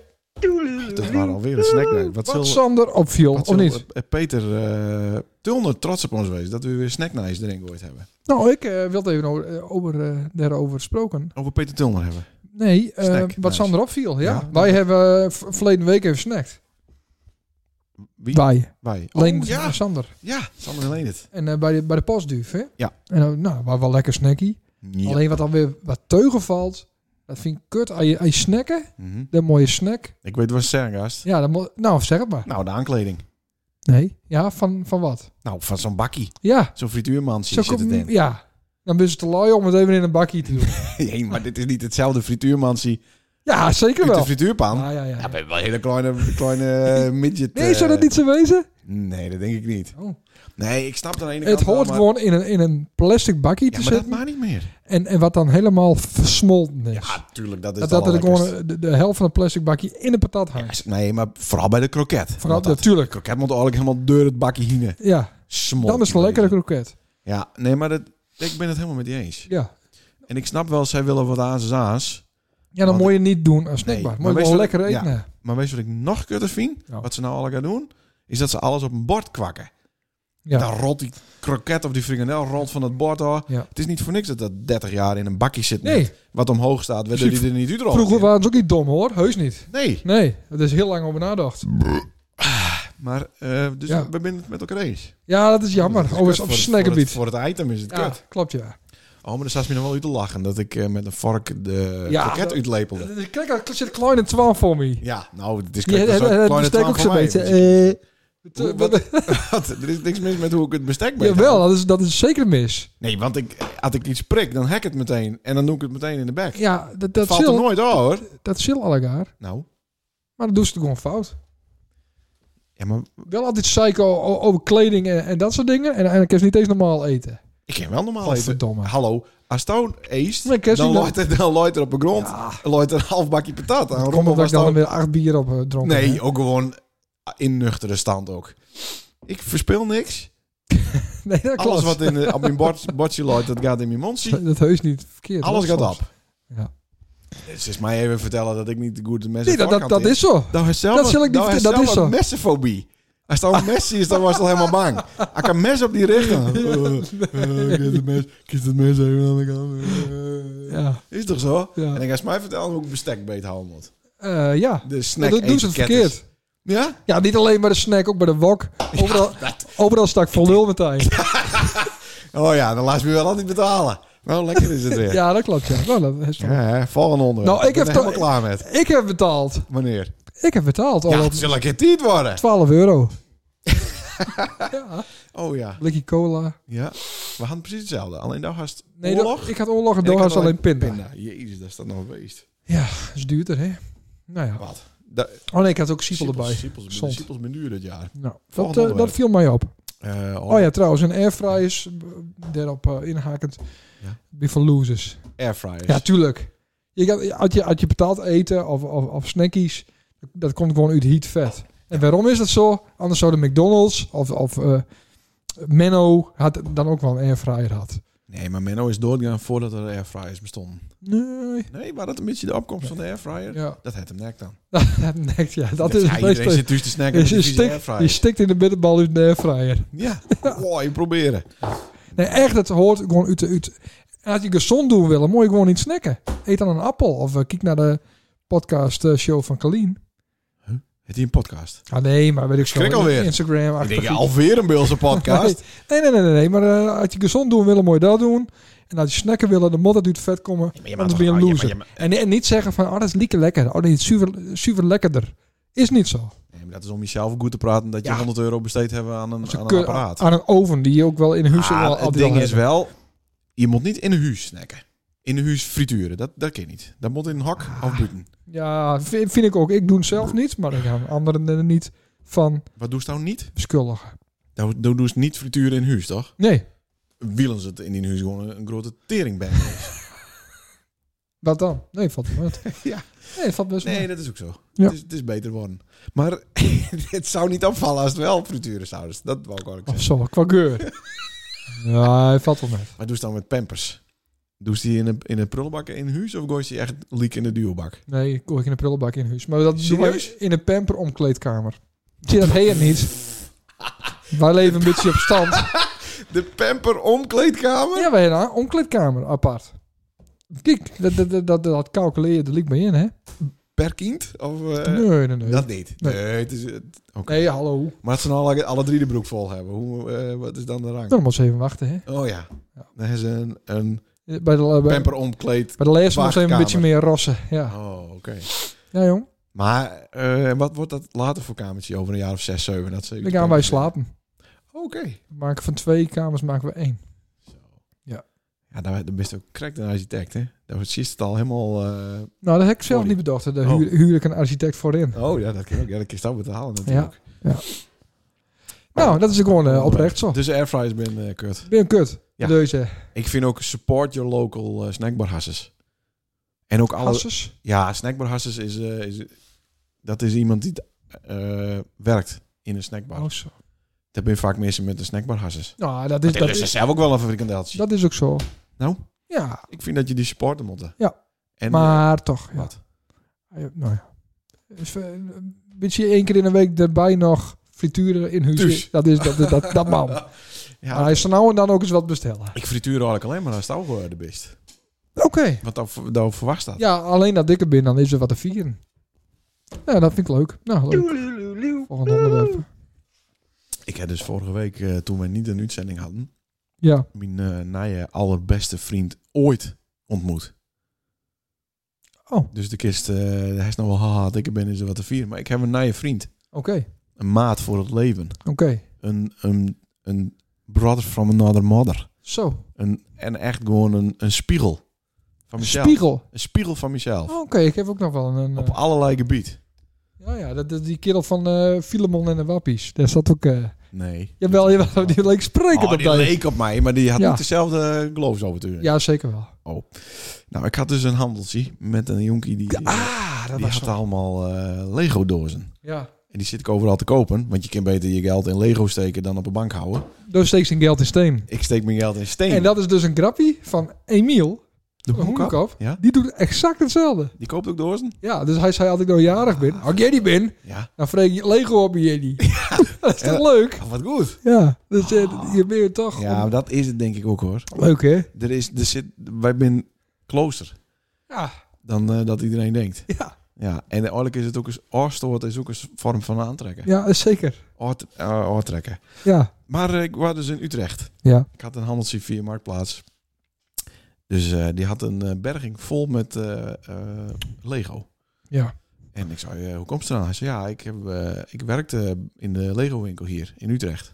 Dat waren alweer een snacknight. Wat,
wat
zullen-
Sander opviel,
wat
of
zullen,
niet?
eh, Peter eh Tulner trots op ons wezen dat we weer snacknights erin gegooid hebben.
Nou, ik eh wilde even over, eh, over, eh, daarover spreken.
Over Peter Tulner hebben.
Nee, eh,
Snack,
wat
nice.
Sander opviel, ja.
Ja.
Wij hebben eh, v- verleden week even snackt.
Wie?
Wij.
Wij. Oh,
Alleen
ja.
Sander.
Ja, Sander en Leendert.
En eh, bij, de, bij de postduif, hè?
Ja.
En dan, nou, waar wel lekker snacky.
Ja.
Alleen wat dan weer wat teugen valt, dat vind ik kut. Als je, als je snacken,
Mhm.
de mooie snack.
Ik weet wat Sergast.
Ja, dan moet... Nou, zeg het maar.
Nou, de aankleding.
Nee. Ja, van, van wat?
Nou, van zo'n bakkie.
Ja.
Zo'n frituurmansje zit het
kom-
in.
Ja. Dan ben je te lui om het even in een bakje te doen.
Nee, maar dit is niet hetzelfde frituurmansje
ja, zeker
uit de
wel.
frituurpan.
Ja, ja, ja.
Ja, ben je wel een hele kleine, kleine eh, midget.
Nee, zou dat
eh,
niet zo wezen?
Nee, dat denk ik niet.
Oh.
Nee, ik snap er aan de ene
Het
kant wel,
hoort
maar-
gewoon in een, in een plastic bakje
Ja,
te
maar dat
zitten.
maakt niet meer.
En, en wat dan helemaal versmolten is.
Ja, tuurlijk, dat is
dat
het
dat er
allerlekkerst.
gewoon de, de helft van een plastic bakje in een patat hangt.
Nee, maar vooral bij de kroket.
Vooral,
Want dat
natuurlijk.
kroket moet eigenlijk helemaal door het bakje heen.
Ja,
Smol.
dan is het een lekkere kroket.
Ja, nee, maar dat, ik ben het helemaal met die eens.
Ja.
En ik snap wel, zij willen wat aas aas.
Ja, dan
Want-
moet je niet doen als snackbar.
maar
moet je
weet
gewoon
je wat-
lekker eten.
Maar weet je wat ik nog kutter vind?
Nou.
Wat ze nou alle gaan doen? Is dat ze alles op een bord kwakken.
Ja.
Dan rolt die kroket of die frikandel rolt van het bord hoor.
Ja.
Het is niet voor niks dat dat 30 jaar in een bakje zit. net.
Nee,
Wat omhoog staat, waardoor die er niet uit rolt.
vroeger waren ze ook niet dom hoor. Heus niet.
Nee,
Nee, dat is heel lang over nadacht.
maar eh, dus
Ja.
we zijn het met elkaar eens.
Ja, dat is jammer.
Dat is
Overigens
kut
op
voor het-
snackgebied.
Voor, het- voor het item is het
Ja,
kut.
klopt ja.
Oh, maar daar staat ze me nog wel uit te lachen. Dat ik eh, met een vork de
Ja,
kroket
dat-
uitlepelde.
Kijk, er zit een kleine twaalf voor me.
Ja, nou, het is
Ja,
dat is ook een
dat
kleine
besteek
twaalf
ook zo'n
van mij.
beetje.
Dus ik-
eh,
Wat- wat? er is niks mis met hoe ik het bestek ben.
Jawel, dat is, dat is zeker mis.
Nee, want ik, als ik iets prik, dan hek het meteen. En dan doe ik het meteen in de bek.
Ja, dat,
dat
dat
valt er
zil,
nooit over.
dat zil allegaar.
Nou,
Maar dat doen ze toch gewoon fout.
ja, maar
Wel altijd psycho o- over kleding en, en dat soort dingen. En, en ik heb ze niet eens normaal eten.
ik ken wel normaal eten.
Godverdomme.
Hallo, als Toon eest,
Nee, ik ken ze
dan
niet.
looit er, dan looit er op de grond
Ja.
looit er een half bakje patat. Een
Kom
rommel
omdat ik
was
dan
dan
weer acht bier op eh, dronken.
Nee,
hè?
ook gewoon in nuchtere stand ook. Ik verspil niks.
nee dat klopt.
Alles wat in de, op mijn bord, bordje looit, dat gaat in mijn mondje.
dat heus niet verkeerd.
Alles
hoor,
gaat
soms.
op.
Ja.
Dus is mij even vertellen dat ik niet goed de mensen
Nee, dat, dat,
voorkant
dat
in.
is zo.
Dat is zelf,
Dat zal ik niet
dat is
vertellen, dat
zelf
is
een
zo.
messenfobie. Hij staat Messi, is, dan was hij al helemaal bang. Hij kan mes op die richting. Eh,
Ja,
kies het mes, kies het mes even aan de kant. Eh,
Ja.
Is toch zo?
Ja.
En dan ga je mij vertellen hoe ik bestek beet houden moet.
Eh, ja.
De
Ja,
snack
dat doen ze het
etiketten.
verkeerd.
Ja?
Ja, niet alleen bij de snack, ook bij de wok. Overal, overal stak vol lul meteen.
Oh ja, dan laat je me wel altijd betalen. Nou, lekker is het weer. ja.
Ja, dat klopt. Ja. Nou, dat is wel-
hè, volgende onderwerp.
Nou, ik
ben
heb
er
toch- Oh,
helemaal klaar met.
Ik heb betaald.
Meneer.
Ik heb betaald.
Ja,
Al
het zal een keer tiet worden.
12 euro. ja,
Oh ja.
blikje cola.
Ja. We hadden precies hetzelfde. Alleen daar had
Nee,
oorlog.
dat- ik had oorlog en
En ik
door
had
had ze alleen pinda.
Jezus, daar staat nog een beest.
Ja, dat is duurder, hè? Nou ja.
Wat? Da
Oh nee, ik had ook Siepel
Siepels-
erbij.
Siepels,
Zond.
Siepels menu dit jaar.
Nou, dat,
Volgende
eh, dat
onderwerp.
viel mij op.
Eh,
Oh ja, trouwens, een airfryer is eh, daarop eh, inhakend.
Ja.
Die van losers.
Airfryers.
Ja, tuurlijk. Je kan, als, je, als je betaald eten of, of, of snackies, dat komt gewoon uit heat vet. En waarom is dat zo? Anders zou de McDonald's of, of eh, Menno had dan ook wel een airfryer had.
Nee, maar Menno is doodgegaan voordat er airfryers bestonden.
Nee.
Nee, maar dat een beetje de opkomst van de airfryer.
Ja,
Dat het hem nek dan.
dat nekt, ja. Dat is
ja,
het
iedereen
meeste.
zit dus te snacken
Je,
met die
je,
vieze
stikt, je
airfryer.
stikt in de bitterbal uit de airfryer.
Ja, wow, je proberen.
Nee, echt, dat hoort gewoon uit de... Uit. En als je gezond doen wil, dan moet je gewoon niet snacken. Eet dan een appel of eh, kijk naar de podcast eh, show van Kalien.
Het hier een podcast.
Ah nee, maar weet ik zo.
Schrik alweer.
Instagram.
Ik denk, ja, alweer een Beelse podcast.
Nee, nee, nee, nee. nee. Maar eh, als je gezond doen wil, moet je dat doen. En als je snacken wil, dan moet dat uit het vet komen.
Nee, maar je mag
anders
toch-
ben je een
ja, maar
loser.
je mag-
en, en niet zeggen van, oh, dat is lekker lekker. Oh, dat is super, super lekkerder. Is niet zo.
Nee, maar dat is om jezelf goed te praten dat je
Ja.
100 euro besteed hebben aan een,
Dat is
aan een
keur-
apparaat.
Aan een oven die je ook wel in huis
Ah,
wel
het
altijd
ding
wel
is
hebben.
wel, je moet niet in een huis snacken. In een huis frituren, dat, dat kan niet. Dat moet in een hak of buiten.
Ja, vind, vind ik ook. Ik doe het zelf niet, maar ik ga anderen er niet van
Wat doe je nou niet?
schuldig.
Nou, dan doen ze niet frituren in huis, toch?
Nee,
Wielen ze het in die huis gewoon een grote tering bij.
wat dan? Nee, valt wel uit.
Ja.
Nee, valt best wel
Nee,
uit.
dat is ook zo.
Ja.
Het, is, het is beter worden. Maar het zou niet opvallen als het wel frituren zouden. Dat wou ik ook
Of
zeggen.
zo, Oh, qua geur. ja, hij valt wel mee.
Maar doe ze dan met pampers? Doe ze die in een, in een prullenbak in huis of gooi je die echt liek in de duwbak?
Nee, ik kook in een prullenbak in huis. Maar dat doen
Serieus?
wij in een pamper omkleedkamer. Zie je dat heen niet? wij leven een beetje op stand.
De pamper omkleedkamer?
ja, wij hebben een omkleedkamer apart. Kijk, dat, dat, dat, dat, dat calculeer je er liek bij in, hè?
Per kind? Of, eh,
nee, nee, nee.
Dat niet. Nee,
Nee.
het is... het- oké.
Nee, hallo.
Maar als ze nou alle, alle drie de broek vol hebben, hoe, eh, wat is dan de rang?
Dan moet ze even wachten, hè?
Oh ja.
Ja.
Dan is een, een
Bij de, bij,
pamper omkleed...
bij de laatste moet ze
wachtkamer.
even een beetje meer rossen. Ja,
Oh, oké.
ja jong.
Maar eh, wat wordt dat later voor kamertje over een jaar of zes, zeven? Dat ze
Dan gaan wij slapen.
Oké.
We maken van twee kamers maken we één.
Ja, daar daar ben je ook correct een architect, hè? Daar is het al helemaal... eh,
Nou, dat heb ik zelf
Sorry.
niet bedacht. hè. Daar
Oh.
huur, huur ik een architect voor in.
Oh ja, dat kan ook. Ja, dat kan je dat betalen natuurlijk.
Nou, dat is gewoon eh, oprecht zo.
Oh. Dus airfryers ben eh, kut.
Ben je een kut.
Ja.
Deze
Ik vind ook support your local eh, snackbar hasses. En ook alle...
hasses.
Ja, snackbar hasses is, eh, is... Dat is iemand die eh, werkt in een snackbar.
Oh, zo.
Dat ben je vaak mensen met een snackbar hasses.
Nou, dat is,
dus Dat
dat,
is
is,
zelf ook wel een frikandeltje.
dat is ook zo.
Nou?
Ja,
Ik vind dat je die supporten moet.
Ja.
En, eh,
maar toch. Ja.
Wat?
Ja, Nou ja. Dus, eh, een beetje één keer in de week erbij nog frituren in huis.
Dus.
Dat is dat, is- dat, dat man. Maar
Ja,
hij zou nou en dan ook eens wat bestellen.
ik frituur eigenlijk alleen maar als het oude best.
Oké.
Want dan, dan verwacht dat.
Ja, alleen dat dikke bin, dan is er wat te vieren. Ja, dat vind ik leuk. Nou, leuk. Volgende onderwerp.
Ik heb dus vorige week, eh, toen we niet een uitzending hadden,
Ja.
mijn eh nije allerbeste vriend ooit ontmoet.
Oh.
Dus de kist, eh, hij is nou wel, haha, ik ben eens wat te vieren. Maar ik heb een nije vriend.
Oké.
Een maat voor het leven.
Oké.
Een, een, een brother from another mother.
Zo.
Een, en echt gewoon een, een spiegel van
Een
mezelf.
spiegel.
Een spiegel van mezelf.
Oh, Oké, ik heb ook nog wel een... eh,
Op allerlei gebied.
ja, ja, dat, dat- die kerel van eh Filemon en de Wappies. Daar zat ook... eh
Nee.
jawel, jawel, die leek sprekend
Oh,
op
die
dat.
leek op mij, maar die had
Ja.
niet dezelfde geloofsovertuiging.
Ja, zeker wel.
Nou, ik had dus een handeltje met een jonkie die,
Ah, dat
die
was
had
zo.
allemaal eh, Lego-dozen.
Ja.
En die zit ik overal te kopen, want je kan beter je geld in Lego steken dan op een bank houden.
Door steekt zijn geld in steen.
Ik steek mijn geld in steen.
En dat is dus een grappie van Emiel.
De
een
hoenkap,
hoedenkap,
Ja.
die doet exact hetzelfde.
die koopt ook dozen.
Ja, dus hij zei, als ik nou jarig ben, als jij die ben,
Ja.
dan vreeg je Lego op je die. dat is toch
Ah. Ja.
leuk?
wat goed.
Ja, dus eh, je bent toch...
Ja, maar dat is het denk ik ook hoor.
Leuk, hè?
Er is, er zit, wij zijn closer
Ja,
dan eh, dat iedereen denkt.
ja.
Ja, en eigenlijk is het ook eens oorstoot, is ook een vorm van aantrekken.
ja zeker.
Oort- eh, oortrekken.
Ja,
Maar eh, ik was dus in Utrecht.
ja.
Ik had een handeltje via Marktplaats. Dus eh, die had een eh, berging vol met eh, eh, Lego.
Ja.
En ik zei, eh, hoe komt het eraan? Hij zei, ja, ik, heb, eh, ik werkte in de Lego winkel hier in Utrecht.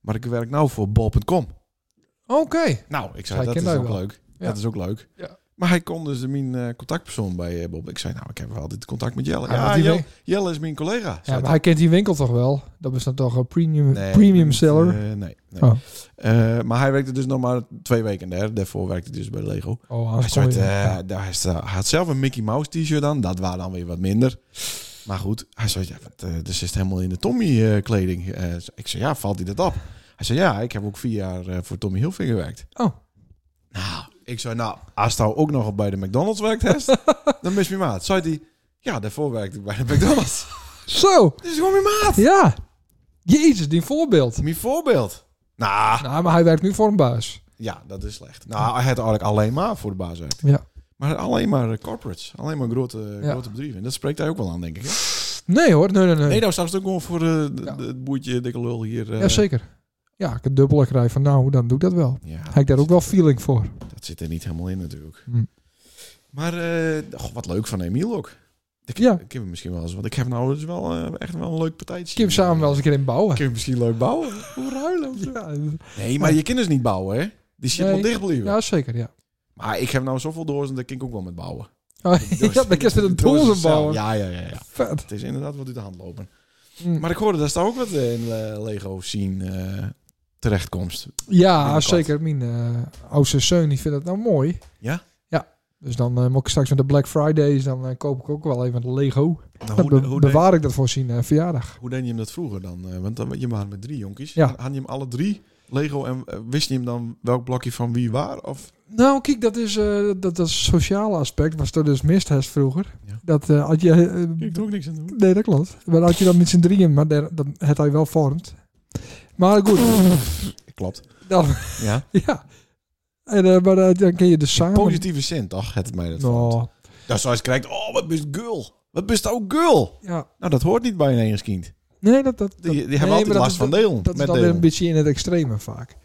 Maar ik werk nou voor bol.com.
Oké.
Nou, ik
Zij
zei, dat is
kent mij
ook
wel.
leuk.
Ja.
Dat is ook leuk.
Ja.
Maar hij kon dus mijn eh, contactpersoon bij eh, Bob. Ik zei, nou, ik heb wel dit contact met Jelle.
Ja,
Ja,
want Ah, die
Jel-
win-
Jelle is mijn collega.
Ja,
zei
maar hij kent die winkel toch wel? Dat is dan toch een premium,
Nee,
premium
niet,
seller?
eh, nee. nee.
Oh.
Eh, maar hij werkte dus nog maar twee weken daar. Daarvoor werkte hij dus bij Lego.
oh,
Hij,
anders
zei,
kon je-
eh,
ja.
daar is, eh, hij had zelf een Mickey Mouse t-shirt aan. Dat waren dan weer wat minder. Maar goed, hij zei, ja, wat, eh, er zit helemaal in de Tommy-kleding. Eh, ik zei, ja, valt hij dat op? Hij zei, ja, ik heb ook vier jaar eh, voor Tommy Hilfiger gewerkt.
Oh.
Nou, ik zei, nou, als hij ook nog bij de McDonald's werkt, Hest, dan mis je me maat. Zei hij, ja, daarvoor werkte ik bij de McDonald's.
Zo,
Dit is gewoon mijn maat.
ja. Jezus, die voorbeeld.
Mijn voorbeeld. Nou,
Nou, maar hij werkt nu voor een baas.
Ja, dat is slecht. Nou, hij had eigenlijk alleen maar voor de baas uit.
Ja.
Maar alleen maar eh, corporates. Alleen maar grote, eh,
Ja.
grote bedrijven. En dat spreekt hij ook wel aan, denk ik. hè?
Nee hoor, nee, nee, nee.
Nee, nou staat het ook gewoon voor eh, de-
Ja.
de- het boertje dikke lul hier. eh.
ja, zeker. Ja, ik het dubbele krijg van nou, dan doe ik dat wel.
Ja,
Heb ik daar ook wel feeling voor.
dat zit er niet helemaal in natuurlijk.
Hm.
Maar eh, och, wat leuk van Emiel ook. Ik,
Ja.
ik heb hem misschien wel eens, want ik heb nou dus wel eh, echt wel een leuk partijtje.
Ik heb samen wel eens een keer in bouwen.
Ik heb hem misschien leuk bouwen. Hoe ruilen of zo.
Ja,
Nee, maar je kinderen dus niet bouwen, hè? Die shit
Nee. Nou.
moet dicht blijven.
ja, zeker, ja.
Maar ik heb nou zoveel dozen, dat kan ik ook wel met bouwen.
Oh, ja, dan kun je met een dozen bouwen.
Ja, ja, ja, ja.
Vet.
Het is inderdaad wat uit de hand lopen.
Mm.
Maar ik hoorde dat daar ook wat eh, in eh, Lego zien eh, terechtkomst.
Ja,
binnenkort.
zeker. Mijn eh oudste zoon die vindt dat nou mooi.
Ja?
Ja. Dus dan eh, moet ik straks met de Black Fridays, dan eh, koop ik ook wel even een Lego.
Nou,
Dan
hoe,
be-
hoe, deed,
bewaar ik dat voor zijn eh, verjaardag.
hoe deed je hem dat vroeger dan? Eh, want dan, je maar met drie jonkies.
Ja.
Had je hem alle drie Lego en eh, wist je hem dan welk blokje van wie waar? Of
Nou, kijk, dat is eh, dat, dat sociale aspect was er dus mist heeft vroeger.
Ja.
Dat eh, had je... eh,
ik doe ook niks aan doen.
nee, dat klopt. Maar had je dan met z'n drieën, maar daar, dat had hij wel vormt. Maar goed,
Klopt.
dan,
Ja.
ja. En, eh, maar eh, dan kun je dus samen...
Positieve zin, toch? Het mij dat
Nou,
vond. Dat zoals je kijkt, oh, wat best girl. Wat bist ook girl.
ja.
Nou, dat hoort niet bij een enigskind. kind.
Nee, dat... dat,
Die, die
dat-
hebben
nee,
altijd
maar dat
last
is-
van delen.
Dat is
met
dan weer
delen.
een beetje in het extreme vaak.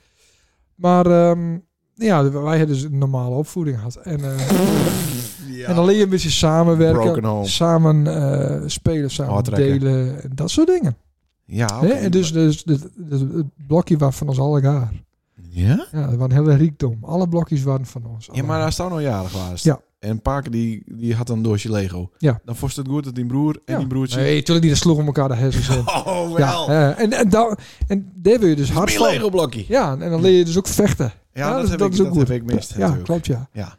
Maar ehm, ja, wij hebben dus een normale opvoeding gehad. En, eh,
Ja.
en dan leer je een beetje samenwerken.
Broken home.
Samen eh, spelen, samen
Hardrekken.
delen. En dat soort dingen.
Ja,
Hè?
Ah, oké.
En dus, dus, dus- dus het blokje was van ons alle gaar.
Ja?
Ja, dat was een hele riekdom. Alle blokjes waren van ons.
Ja, maar als het nou jarig was.
Oh. Ja.
En Parker die, die had een doosje Lego.
Ja.
Dan vond het goed dat die broer en
Ja.
die broertje...
Nee, natuurlijk niet. Dat sloegen elkaar de hersens in.
Oh, wel.
Ja, eh, en, en, daar, en daar wil je dus hard
Mijn
van.
Lego blokje. Ja,
Ja, en dan leer je dus ook vechten.
dat,
dus
heb, ik,
is ook
dat
goed.
heb ik mist
Ja,
natuurlijk.
klopt ja.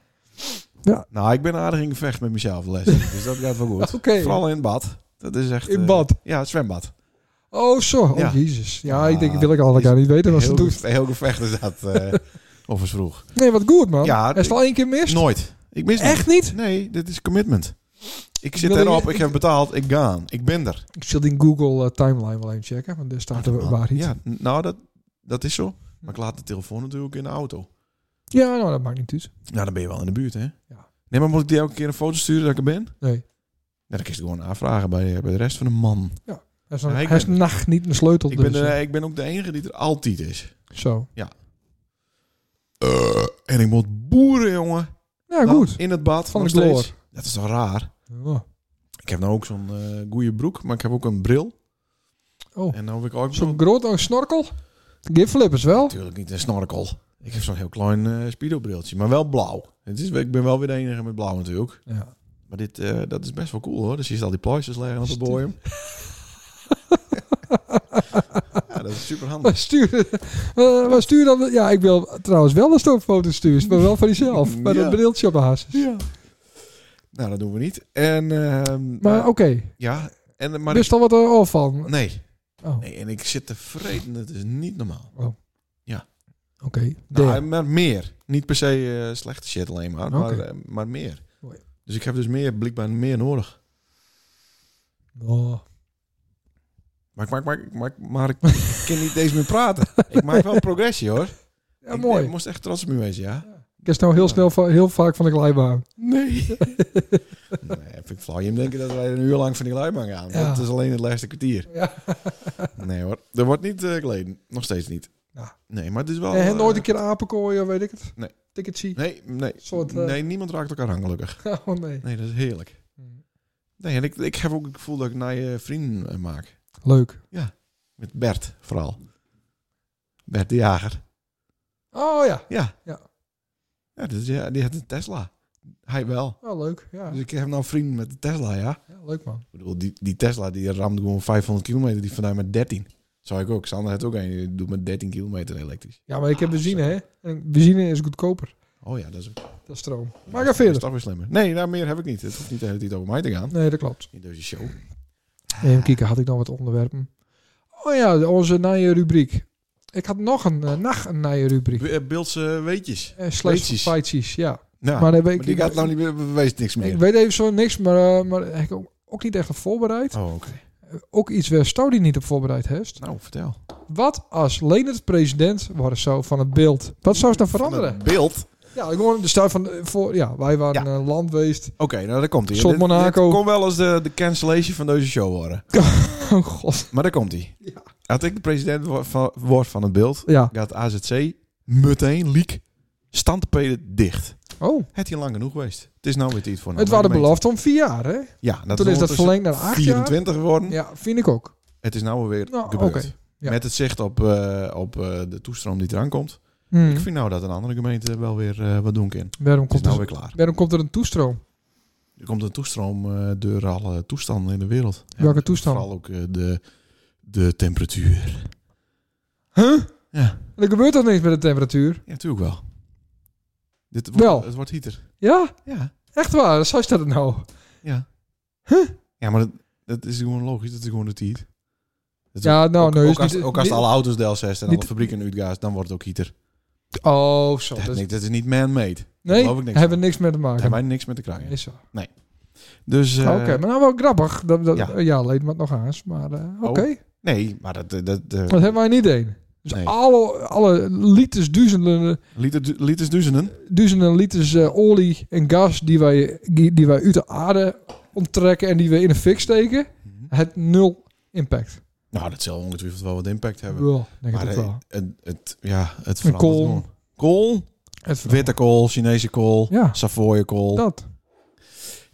Nou, ik ben aardig in gevecht met mezelf les. dus dat gaat wel goed.
Oké.
Vooral in het bad. Dat is echt...
In
eh,
bad?
ja, het zwembad.
Oh, zo. Oh,
Ja.
jezus. Ja,
Ja,
ik denk, wil ik al elkaar niet weten wat ze
heel,
doet.
ge- heel gevecht is dat. eh of eens vroeg.
Nee, wat goed, man.
Ja,
Hij is het al één keer mis?
Nooit. Ik mis
Echt niet?
niet. Nee, dit is commitment. Ik zit
wil-
erop, ik,
ik-
heb betaald, ik ga. Ik ben er.
Ik zal die Google eh, timeline wel even checken, want daar staat er waarheid.
Ja, n- nou, dat, dat is zo. Maar ik laat de telefoon natuurlijk in de auto.
ja, nou, dat maakt niet uit.
Nou, dan ben je wel in de buurt, hè? Nee, maar moet ik die elke keer een foto sturen dat ik er ben? Nou,
Nee.
dan kun je het gewoon aanvragen bij, bij de rest van de man.
Hij is, nog-
Ja, ik
hij is
ben-
nacht niet een sleutel.
Ik ben,
dus,
de-
eh,
ik ben ook de enige die er altijd is.
Zo.
Eh, en ik moet boeren, jongen.
Ja,
Dan
goed.
In het bad.
Van
nog
de gloor.
steeds. Dat is toch raar?
Oh.
Ik heb nou ook zo'n eh goede broek, maar ik heb ook een bril.
Oh.
En nou heb ik ook
Zo'n
zo'n...
groot oh, snorkel? Give flippers wel.
Natuurlijk niet een snorkel. Ik heb zo'n heel klein eh speedo-briltje, maar wel blauw. Het is, ik ben wel weer de enige met blauw natuurlijk.
Ja.
Maar dit, eh, dat is best wel cool hoor. Dus je ziet al die plaatjes liggen op de boem. ja, dat is super handig.
Maar stuur, eh, maar stuur dan... Ja, ik wil trouwens wel een stokfoto sturen, maar wel van jezelf. Maar
Ja.
dat briltje op haar.
Ja. Nou, dat doen we niet. En, ehm,
Maar Dus-
eh,
oké,
ja, en, maar
wist al wat er al van?
nee,
Oh.
nee, en ik zit te vreten. Dat is niet normaal.
Oké.
Nou,
Daar.
maar meer. Niet per se eh, slechte shit alleen maar, maar,
Oké.
eh, maar meer.
Mooi.
Dus ik heb dus meer, blijkbaar meer nodig.
Oh.
Maar, ik maak- maak- maak- maar ik kan niet eens meer praten. Ik maak wel progressie hoor.
Ja,
ik,
mooi.
Ik moest echt trots op me wezen, ja.
Ik is nou heel snel, van- heel vaak van de glijbaan.
Nee. nee, vind ik flauw. Je moet denken dat wij een uur lang van die luimang gaan.
Ja.
Dat is alleen het laatste kwartier.
Ja.
Nee hoor, er wordt niet eh geleden. Nog steeds niet.
Ja.
Nee, maar het is wel...
En
eh,
nooit een keer apenkooi of weet ik het.
Nee.
Ticketsie.
Nee, nee.
soort, eh,
nee, niemand raakt elkaar aan gelukkig.
Oh nee. Hmm.
Nee, dat is heerlijk. Nee, en ik, ik heb ook het gevoel dat ik naar je vrienden eh, maak.
Leuk.
Met Bert, vooral. Bert de Jager.
Oh ja.
Ja.
Ja.
Ja, dus, ja die had een Tesla. Hij wel.
Oh, leuk. Ja.
Dus ik heb nou vrienden met de Tesla, ja.
ja. Leuk man.
Ik bedoel, die, die Tesla die ramt gewoon 500 kilometer. Die vandaan met 13. Zou ik ook. Sander heeft ook een. Die doet met 13 kilometer elektrisch.
Ja, maar ik heb
Ah,
benzine
zo.
hè. En benzine is goedkoper.
Oh ja, dat is,
Dat is stroom.
dat
Maar ga
is
verder.
toch weer slimmer. Nee, daar meer heb ik niet. Het hoeft niet de hele tijd over mij te gaan.
Nee, dat klopt.
In deze show. Ah.
Even kijken, had ik dan wat onderwerpen? Oh ja, onze nieuwe rubriek. Ik had nog een, eh, nacht een nieuwe rubriek.
Be- eh, Beeldse weetjes.
Eh, slash
Weetjes.
feitjes, ja.
Nou,
Maar
maar,
daar ben ik-
die gaat nou niet meer bewezen niks meer.
Ik weet even zo niks, maar, eh, maar heb ik ook- ook niet echt op voorbereid.
oh, oké.
Ook iets waar Stody niet op voorbereid heeft.
Nou, vertel.
Wat als Leonard president worden zou van het beeld? Wat zou ze dan veranderen?
Van het Nou, beeld.
Ja, gewoon de staat van... eh, Voor, ja, wij waren een land geweest.
Oké, nou daar komt hij.
Soort Monaco.
Dit kon wel eens de, de cancellation van deze show worden.
Oh god.
Maar daar komt hij.
Ja.
Als ik de president wo- van- word van het beeld,
Ja.
gaat AZC meteen leak standpeden dicht.
Oh.
Het hier lang genoeg geweest. Het is nou weer tijd voor een
Het
andere
waren beloofd om vier jaar, hè?
gemeente. Ja, dat
Toen is dat
ondertussen
verlengd naar acht jaar.
24 geworden.
Ja, vind ik ook.
Het is nou weer
Nou,
gebeurd.
oké, ja.
Met het zicht op, eh, op eh, de toestroom die eraan komt.
Hmm.
Ik vind nou dat een andere gemeente wel weer eh, wat doen kan.
Waarom
Het is
komt, dus-
nou
er,
weer klaar.
waarom komt er een toestroom?
Er komt een toestroom eh, door alle toestanden in de wereld.
Welke
En
toestand?
Vooral ook eh, de, de temperatuur.
Huh?
Ja,
Er gebeurt toch niks met de temperatuur?
ja natuurlijk wel. Dit wordt,
Wel.
Het wordt heater.
Ja,
Ja,
echt waar. Zo staat het nou.
ja. Ja, maar dat, dat is gewoon logisch. Dat is gewoon het heat. Dat is
Ja,
ook-
nou,
ook,
nee,
ook
is
als,
niet-
ook als
niet-
alle auto's de L6 en alle
niet-
fabrieken uitgaas, dan wordt het ook heater.
Oh, zo.
Dat,
Dus-
nee, dat is niet man-made.
nee,
geloof ik niks
hebben niks mee te
Daar
maken.
hebben wij niks mee te krijgen.
Is zo.
Dus, eh,
Ah, Oké, maar nou wel grappig. Dat, dat,
ja. Oh.
ja. ja, leed me het nog aan. Maar eh, oké,
Nee, maar dat... dat, dat eh,
dat hebben wij niet één. Dus
Nee.
alle, alle liters, duizenden,
liter, liters duizenden.
duizenden liters eh, olie en gas die wij, die, die wij uit de aarde onttrekken en die we in een fik steken,
Mhm.
het nul impact.
Nou, dat zal ongetwijfeld wel wat impact hebben.
Wel, denk ik
Maar
het
eh,
wel.
het, het, ja, het
Een
verandert
kool.
gewoon. Kool,
Het
witte kool, Chinese kool,
Ja.
Savoyenkool.
Dat,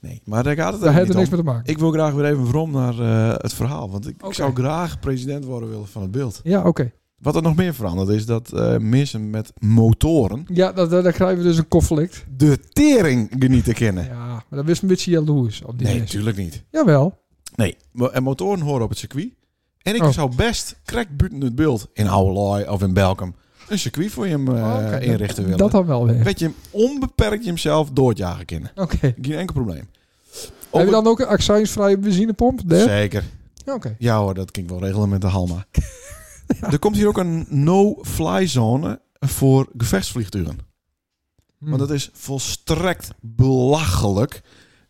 Nee, maar daar gaat het
daar
even
heeft
niet
er niks
om.
mee te maken.
Ik wil graag weer even vrom naar eh, het verhaal. Want ik, ik
Oké.
zou graag president worden willen van het beeld.
Ja, oké.
Wat er nog meer verandert is dat eh mensen met motoren
Ja, daar, daar daar krijgen we dus een conflict.
de tering genieten kennen.
Ja, maar dat wist een beetje jaloers op die
nee,
mensen.
natuurlijk niet.
Jawel.
Nee, mo- en motoren horen op het circuit. En ik
Oh.
zou best krek buiten het beeld in Ouwelooi of in Belkum een circuit voor je hem, eh,
Oh, Oké, dat-
inrichten willen.
Dat dan wel weer.
Dat je hem onbeperkt hemzelf doodjagen kennen.
Oké.
Geen enkel probleem.
Heb je
Over-
dan ook een accijnsvrije benzinepomp? Daar?
Zeker.
Ja, Oké.
Ja hoor, dat kan ik wel regelen met de Halma. Er komt hier ook een no-fly zone voor gevechtsvliegtuigen.
Hmm.
Want dat is volstrekt belachelijk.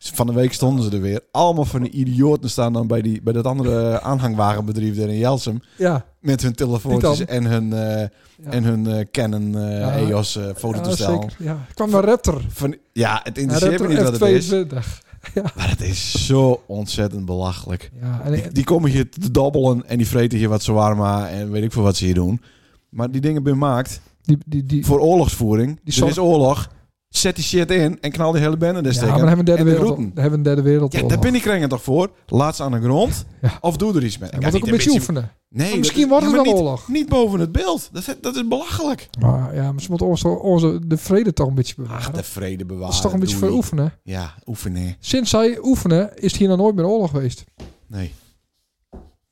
Van de week stonden ze er weer. Allemaal van die idioten staan dan bij, die, bij dat andere aanhangwagenbedrijf daar in Jelsum.
Ja.
Met hun telefoontjes
Die
en hun, eh
Ja.
en hun eh, Canon eh,
Ja.
EOS eh, fototoestel.
Ja, zeker. Ja. Ik kwam naar Raptor.
Van, ja, het
Naar
interesseert me
Raptor
niet wat het is.
F22.
Maar het is zo ontzettend belachelijk.
Ja, en
Die, die komen hier te dobbelen en die vreten hier wat zwarma en weet ik veel wat ze hier doen. Maar die dingen ben maakt
die, die, die,
voor oorlogsvoering.
Die
er
zorg-
is oorlog. Zet die shit in en knal die hele bende er
ja, maar
steken.
dan hebben we een
en
derde
de
wereld.
roeten.
Dan hebben we een derde wereld.
Ja, daar ben ik krengen toch voor. Laat ze aan de grond.
Ja.
Of doe er iets mee.
Je
Ja,
moet ook
niet
een beetje oefenen.
Nee, dat
misschien
is-
wordt
ja,
het
maar
wel
niet,
oorlog.
Niet boven het beeld. Dat, is- dat is belachelijk.
Maar ja, maar ze moeten onze, onze, de vrede toch een beetje bewaren.
Ach, de vrede bewaren.
dat is toch een beetje
doei.
voor oefenen.
Ja, oefenen.
Sinds zij oefenen is het hier nog nooit meer oorlog geweest.
Nee.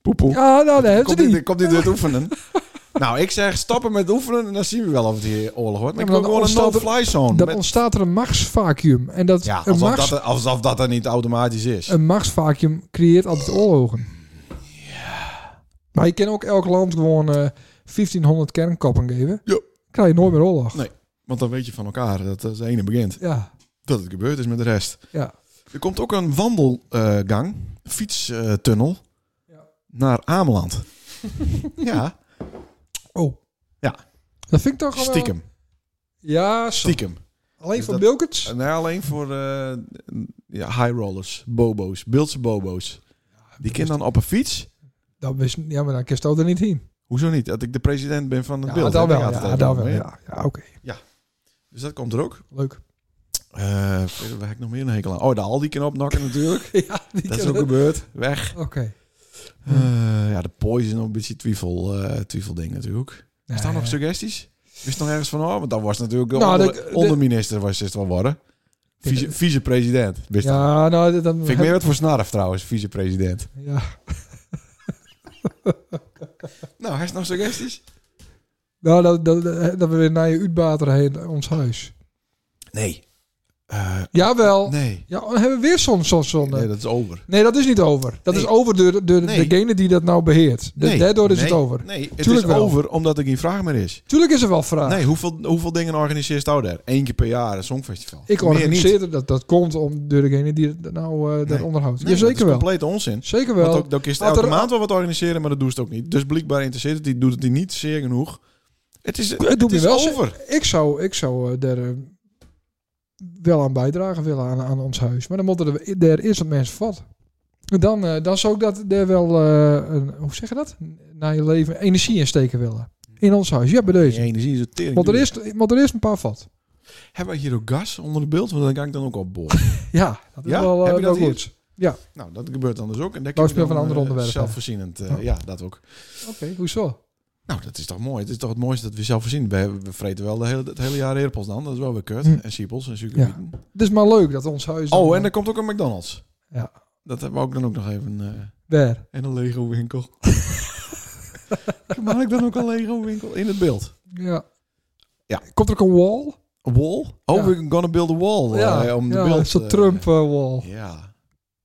Poepoe.
Ja, nou, dat hebben
komt
ze
dit,
niet.
komt dit door het oefenen? nou, ik zeg stoppen met oefenen en dan zien we wel of het hier oorlog wordt. Maar
Ja,
ik
maar
wil
dan
gewoon een
ontstaat er-
no-fly zone.
Dan
met-
ontstaat er een machtsvacuum. En dat
ja,
een,
alsof
machts,
dat, er- alsof dat er niet automatisch is.
een machtsvacuum creëert altijd oorlogen. Maar je kan ook elk land gewoon eh, 1500 kernkoppen geven.
Ja.
krijg je nooit meer oorlog.
Nee. Want dan weet je van elkaar dat als de ene begint,
Ja,
dat het gebeurd is met de rest.
ja.
Er komt ook een wandelgang, fietstunnel,
Ja.
naar Ameland. ja,
Oh.
Ja.
Dat vind ik toch wel...
stiekem.
Ja, zo.
Stiekem.
Alleen
Dus
van
dat-
Bilkens?
En nou, alleen voor eh, ja, high rollers, bobo's, Beeldse bobo's. Die kind dan op een fiets.
Dat wist, ja, maar dan kist ook er niet heen.
Hoezo niet? Dat ik de president ben van het
Ja,
beeld.
dat
hè?
wel.
Daar gaat
Ja,
het even
dat
om,
wel.
hè?
Ja, ja oké.
Dus dat komt er ook.
Leuk.
Eh verder, waar heb ik nog meer een hekel aan? Oh, de Aldi kan opnakken natuurlijk.
ja, die
dat is
kennen
ook
we.
gebeurd. Weg.
Oké.
Eh, ja, de poison een beetje twijfel, eh twijfelding natuurlijk.
Nee.
Is daar nog suggesties? Wist nog ergens van, oh, want dat was natuurlijk
Nou,
onder,
dat-
onderminister was het wel worden. Vice- Vicepresident. wist dat.
Ja, nou, dat- dan...
Vind ik meer wat voor snarf trouwens, vicepresident.
Ja.
Nou, hij is nog suggesties?
Nou, dat, dat, dat we weer naar je uitbater heen, ons huis.
Nee. Eh,
Jawel.
nee.
Ja, dan hebben we weer zo'n... zo'n zo'n-
Nee, dat is over.
Nee, dat is niet over. Dat
Nee.
is over door, door
Nee.
degene die dat nou beheert. Dus
Nee.
daardoor is
Nee.
het over.
Nee, het
Tuurlijk
is
wel.
over omdat er geen vraag meer is.
Tuurlijk is er wel vraag.
Nee, hoeveel, hoeveel dingen organiseert jou daar? Eén keer per jaar een songfestival.
Ik
Meer niet.
organiseer het, dat. Dat komt om, door degene die dat nou eh dat
Nee.
onderhoudt.
Nee,
Jazeker
dat is
wel.
complete onzin.
Zeker
Want
wel.
ook, dan kun je
Had
elke
er-
maand wel wat organiseren, maar dat doet ze het ook niet. Dus blijkbaar interesseert het die, doet het die niet zeer genoeg. Het is, het
doet me
is
wel
over.
Ik zou, ik zou eh, daar eh, wel aan bijdragen willen aan, aan ons huis. Maar dan moeten er, er eerst wat mensen vat. En Dan, eh, dan zou ik dat er wel, eh, een, hoe zeg je dat? Naar je leven energie in steken willen. In ons huis. Ja, bij
Die
deze.
energie is een tering.
Want er,
duur.
eerst, want er eerst een paar vat.
Hebben we hier ook gas onder de beeld? Want dan kan ik dan ook op boord.
Ja, dat is
Ja?
wel, eh,
Heb je
wel
dat hier?
goed. Ja,
nou, dat gebeurt dan dus ook. En daar
Wou
kun je
speel
dan,
van andere
eh,
onderwerpen.
Zelfvoorzienend. eh,
Ja.
Ja, dat ook.
oké. Hoezo?
Nou, dat is toch mooi. Het is toch het mooiste dat we zelfvoorzienend zijn. We vreten wel de hele, het hele jaar herpels dan. Dat is wel weer kut.
Hm.
En siepels en suikerbieten.
Het is maar leuk dat ons huis... dan,
Oh, en
eh,
er komt ook een McDonald's.
Ja.
Dat hebben we ook dan ook nog even. eh,
Waar?
en een Lego winkel. Maak ik dan ook een Lego winkel in het beeld?
Ja.
Ja.
Komt er ook een wall?
Een wall? Oh,
Ja.
we're gonna build a wall. Ja, om de
ja,
beeld.
Zo'n
eh,
Trump-wall.
Ja.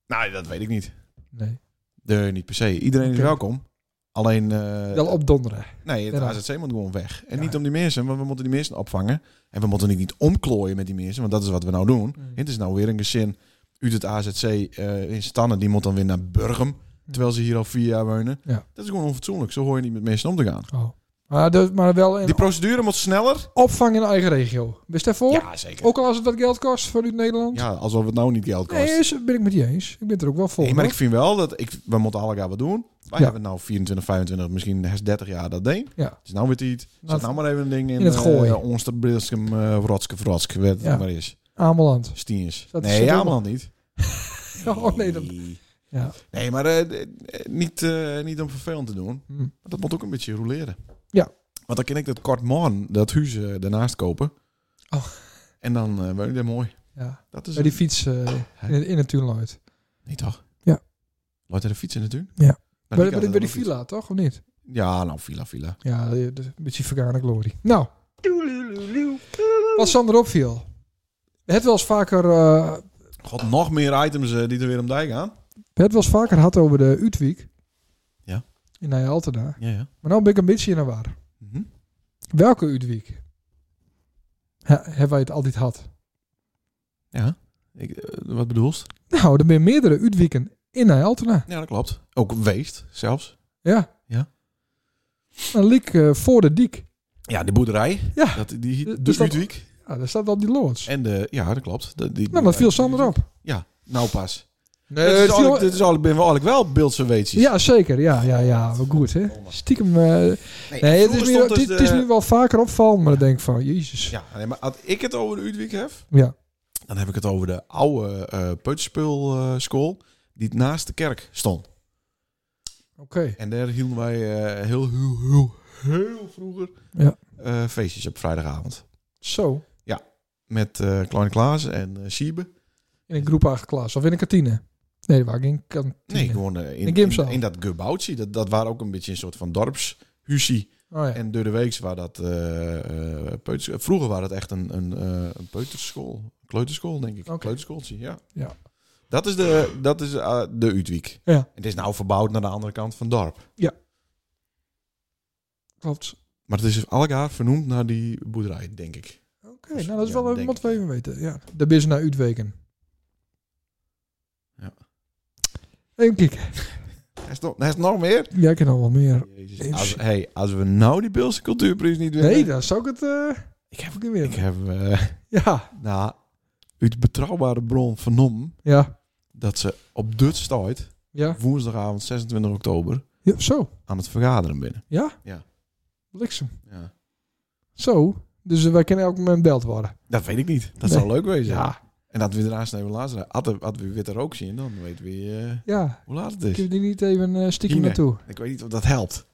Nou, dat weet ik niet.
nee.
De, niet per se. Iedereen is
Oké.
welkom. Alleen, eh,
Wel opdonderen.
nee, het
ja.
AZC moet gewoon weg. En
Ja.
niet om die mensen, want we moeten die mensen opvangen. En we moeten die niet omklooien met die mensen, want dat is wat we nou doen.
Mm.
Het is nou weer een gezin uit het AZC eh, in Stannen, die moet dan weer naar Burgum. Terwijl ze hier al vier jaar wonen.
Ja.
Dat is gewoon onfatsoenlijk. Zo hoor je niet met mensen om te gaan.
Oh. Maar, dus, maar wel in
Die procedure moet sneller.
opvang in eigen regio. Wist daarvoor?
Ja, zeker.
Ook al als het wat geld kost voor Nederland?
Ja, alsof het nou niet geld kost.
nee, is, ben ik met je eens. Ik ben het er ook wel voor.
Nee, maar ik
hoor.
vind wel dat ik, we moeten allemaal wat doen. Wij
Ja.
hebben nou 24, 25, misschien herfst 30 jaar dat ding.
Ja.
Het is nou weer iets. Zet
Laat-
nou maar even een ding in.
in het
eh,
gooien.
Onster, Brilskum, eh, Rotske, Vrotske, weet het
Ja.
maar is.
Ameland.
Stiens.
Dat is
nee,
het
ja,
ook.
man, niet.
Oh, nee, dat- Ja.
Nee, maar eh, eh, niet, eh, niet om vervelend te doen.
Hm.
Maar dat moet ook een beetje roleren.
Ja.
Want dan kan ik dat kort morgen, dat huis eh, daarnaast kopen.
Oh.
En dan eh woon je daar mooi.
ja.
Dat is
Bij die fiets eh, in, het- in het tuinluid.
Nee, toch?
Ja.
Laat er de fiets in natuurlijk.
Ja.
Nou,
Bij,
die
bij,
kan er
bij die
wel fiets.
villa, toch? Of niet?
Ja, nou, villa, villa.
Ja, de- de- een beetje vergane glorie. Nou. Wat Sander opviel. Het wel eens vaker... eh,
God, nog meer items eh, die er weer om dijk gaan.
We hebben het wel eens vaker gehad over de Utwiek.
Ja.
In Nija Altena.
Ja, ja.
Maar nou ben ik een beetje in de war.
Mhm.
Welke Utwiek? He, hebben wij het altijd gehad?
ja. Ik, eh, wat bedoelst?
Nou, er zijn meerdere Utwieken in Nija Altena.
Ja, dat klopt. Ook Weest zelfs.
Ja.
Ja.
Een liek eh, voor de diek.
Ja, de boerderij.
Ja.
Dat, die, de
Dus dat-
Utrecht.
Ja, daar staat op die loods.
En de... Ja, dat klopt. De, die
Nou, dat viel Sander op.
Ja, nou pas.
Nee,
dit is eigenlijk, dit is eigenlijk, ben we eigenlijk wel beeldse weetjes.
ja, zeker. Ja, ja, ja. Wel goed, hè? Stiekem... eh, nee, het is,
vroeger
meer,
stond dus
het, is
de-
nu wel vaker opvallend, maar dan denk ik van, jezus.
Ja, nee, maar als ik het over de Utrecht heb,
Ja.
dan heb ik het over de oude eh peuterspeelschool die naast de kerk stond.
Oké.
En daar hielden wij eh, heel, heel, heel, heel vroeger
Ja.
eh, feestjes op vrijdagavond.
Zo.
met eh, Kleine Klaas en eh Siebe.
In een groep eigen klas of in een kantine? Nee, waar ging ik kantine?
Nee, gewoon eh, in,
Een
in,
gymzaal.
in dat gebouwtje. Dat, dat waren ook een beetje een soort van dorpshuzie.
Oh, ja.
En door de weeks waar dat... eh, eh, peuters- vroeger was het echt een, een, eh, een peuterschool. Kleuterschool, denk ik.
Oké.
Kleuterschooltje, ja.
Ja.
Dat is de, dat is, eh, de Utwiek.
Ja.
Het is nou verbouwd naar de andere kant van het dorp.
Klopt.
Maar het is elk jaar vernoemd naar die boerderij, denk ik.
Oké, nou dat is
Dus Ja,
wel even
denk
wat we
ik.
even weten. Ja, daar ben ze naar Uitweken.
Ja.
Even kijken.
Hij is nog, hij is nog meer.
Ja, ik ken al wel meer.
Jezus. Als, hey, als we nou die Beelse cultuurprijs niet winnen.
Nee, dan zou ik het... eh,
ik heb,
ook niet meer.
ik heb eh,
Ja,
nou, uit betrouwbare bron vernomen
ja,
dat ze op Dutch staat
ja.
woensdagavond 26 oktober
ja zo,
aan het vergaderen binnen.
bliksem.
Ja.
Zo, dus eh, wij kunnen elk moment beld worden.
Dat weet ik niet. Dat
Nee.
zou leuk wezen.
Ja,
En dat we daarnaast even laatst eh, hadden. Had we weer er ook zien, dan weten we eh,
ja.
hoe laat het
Ik
is.
heb die niet even eh stiekem
Hier, nee.
naartoe.
Ik weet niet of dat helpt.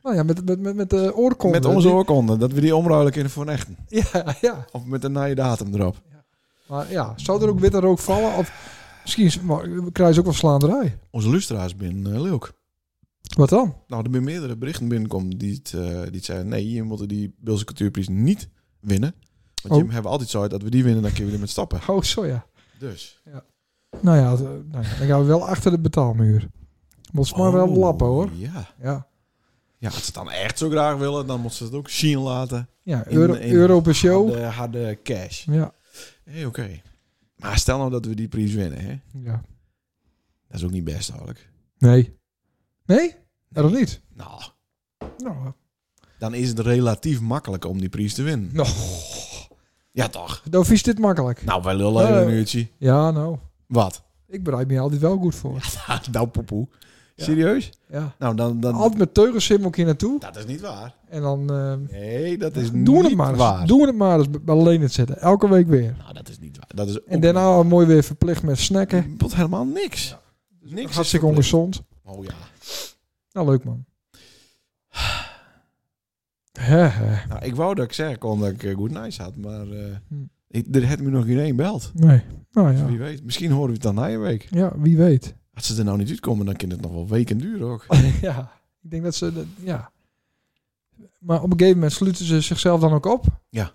Nou ja, met, met, met, met de oorkonden.
Met onze oorkonde, dat we die omruilen kunnen voor een echte.
Ja, ja.
Of met een nieuwe datum erop.
Maar ja, zou er ook witte rook vallen? Of misschien is- maar, we krijgen ze ook wel slaanderij.
Onze lustra's binnen eh, Leuk.
Wat dan?
Nou, er zijn meerdere berichten binnenkomen die het, eh, die het zeiden... nee, je moet die Beelse Cultuurprijs niet winnen. Want
Oh.
je hebben altijd zo dat we die winnen, dan kunnen we er met stappen.
Oh, zo ja.
Dus.
Nou ja, d- nou ja, dan gaan we wel achter de betaalmuur. Moet ze maar wel
Oh,
lappen hoor.
Ja.
Ja,
ja, als ze het dan echt zo graag willen, dan moeten ze het ook zien laten.
ja
In-
Euro,
in-
Euro per show.
Harde, harde cash.
Ja,
Hé, oké. Maar stel nou dat we die prijs winnen, hè.
ja.
Dat is ook niet best, eigenlijk.
Nee. Nee? Dat nog niet.
Nou,
Nou, eh,
dan is het relatief makkelijk om die prijs te winnen.
nou
Ja, toch?
dan vies dit makkelijk.
Nou, wij lullen even
Eh.
een uurtje.
Ja, nou.
Wat?
Ik bereid me altijd wel goed voor.
nou, poepoe. Serieus?
Ja.
Nou, dan... dan
Altijd met teugensim ook hier naartoe.
dat is niet waar.
En dan... eh,
Nee, dat is
doen we
niet
het maar
waar.
eens. Doen we het maar eens. b- Alleen het zetten. Elke week weer.
Nou, dat is niet waar. Dat is
En daarna al mooi weer verplicht met snacken.
Je bot helemaal niks. Niks is
Hartstikke
verplicht.
ongezond.
Oh ja.
Nou, leuk man. Hè, hè.
Nou, ik wou dat ik zeggen kon dat ik eh, Good Nights had, maar eh,
Hm.
ik, er had me nog geen één belt.
Nee. Nou
Wie
ja.
weet. Misschien horen we het dan na je week.
Ja, wie weet.
Als ze er nou niet uitkomen, dan kan het nog wel weken duren ook.
ja. Ik denk dat ze... Dat, ja. Maar op een gegeven moment sluiten ze zichzelf dan ook op.
Ja.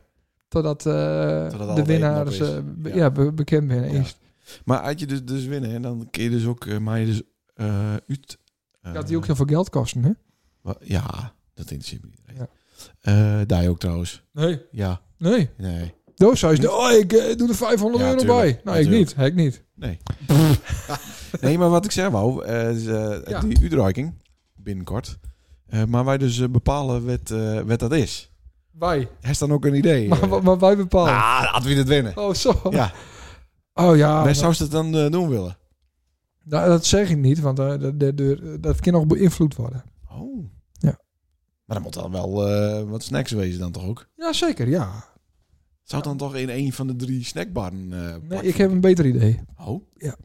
Totdat, eh,
Totdat alle weten
de winnaars
op is.
eh, be-
Ja.
ja. be- bekend zijn.
Ja.
Ja.
Maar als je dus, dus winnen, hè, dan kun je dus ook... eh, maar je dus eh uit... eh,
Dat die ook heel veel geld kosten, hè?
wa- Ja, dat interesseert me niet.
Ja.
Eh, daar ook trouwens.
Nee.
Ja,
Nee.
nee.
Doos zou je oh, ik eh, doe er 500
Ja,
euro
tuurlijk.
bij. Nou, ik
Natuurlijk.
niet. Ik niet.
Nee, maar wat ik zei wou, eh, is eh,
Ja.
die uitreiking binnenkort. Eh, maar wij dus eh, bepalen wat, eh, wat dat is.
Wij.
Heeft dan ook een idee?
Maar,
eh?
wa- maar wij bepalen.
Nou, laten we het winnen.
Oh, zo.
Ja.
Oh ja,
Wij
nou,
zou ze het dan eh, doen willen.
nou, dat zeg ik niet, want eh, dat- dat- dat- dat kan nog beïnvloed worden.
Oh.
Ja.
Maar dan moet dan wel eh, wat snacks wezen dan toch ook?
Ja, zeker, ja.
Zou het dan toch in een van de drie snackbarren eh
Nee,
plaatsvinden?
ik heb een beter idee.
Oh?
Ja.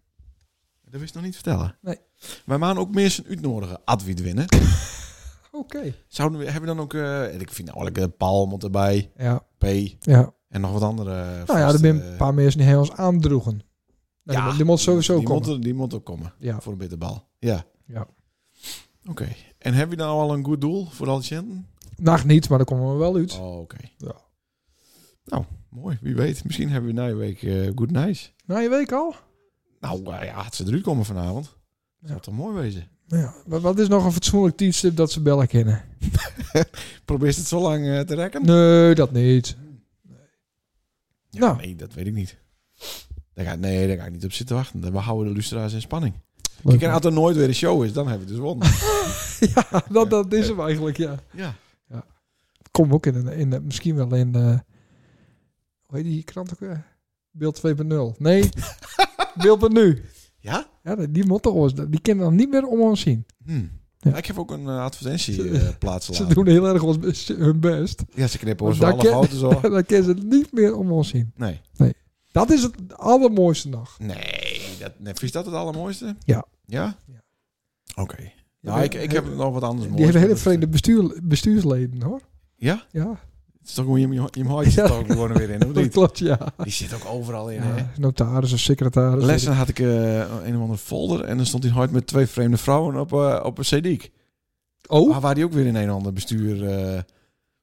Dat wist ik nog niet vertellen.
Nee.
Wij maan ook mensen uitnodigen. Adwiet winnen.
Oké.
Zouden we, hebben we dan ook... eh, ik vind eigenlijk een palm moet erbij.
Ja,
P.
ja.
En nog wat andere... eh,
Nou ja, er
vaste-
zijn een paar mensen die heel ons aandroegen. Nou, die, die moet sowieso
die
komen.
Moet, er- die moet ook komen.
Ja.
Voor een bitterbal. Ja.
Ja.
Oké. En heb je nou al een goed doel voor al die centen?
Nacht niet, maar dan komen we wel uit.
Oh, oké.
Ja.
Nou, mooi. Wie weet. Misschien hebben we na je week eh good nice.
Na je week al?
Nou, eh, ja, het ze eruit komen vanavond. Dat zou
Ja.
toch mooi wezen.
Nou Ja. Wa- Wat is nog een fatsoenlijk tijdstip dat ze bellen kennen?
Probeer ze het zo lang eh, te rekken?
Nee, dat niet.
Ja,
Nou.
Nee, dat weet ik niet. Daar ga, nee, daar ga ik niet op zitten wachten. We houden de lustra's in spanning.
Leuk,
Kijk, en als er nooit weer een show is, dan hebben we het dus gewonnen.
man. dat, dat is hem eigenlijk, ja.
ja.
kom ook in, een- in, een- misschien wel in eh hoe heet die krant ook weer? Beeld 2.0. Nee, beeld van nu.
Ja?
Ja, die- die motto ons, die kennen dan niet meer om ons zien.
Hm.
Ja.
Ik heb ook een eh, advertentie eh plaatsen
Ze
laten.
doen heel erg ons, best- hun best.
Ja, ze knippen
Maar
ons wel
daar
alle
ken-
fouten zo.
dan kennen ze niet meer om ons zien.
Nee.
Dat is het allermooiste nog.
Nee, dat, nee, vind je dat het allermooiste?
Ja.
Ja?
Ja.
Oké. Nou, ik, ik heb nog wat anders
die
moois,
hebben
maar
hele
dat-
vreemde bestuur, bestuursleden, hoor.
Ja?
Ja,
Het is toch gewoon, je, je, je hoort je
Ja.
toch gewoon weer in, of
dat
niet?
klopt, ja.
Die zit ook overal in, hè?
ja notaris of secretaris.
Lessen had ik eh, een of andere folder en dan stond hij hard met twee vreemde vrouwen op, eh, op een CD.
Oh,
Maar waar die ook weer in een of ander bestuur eh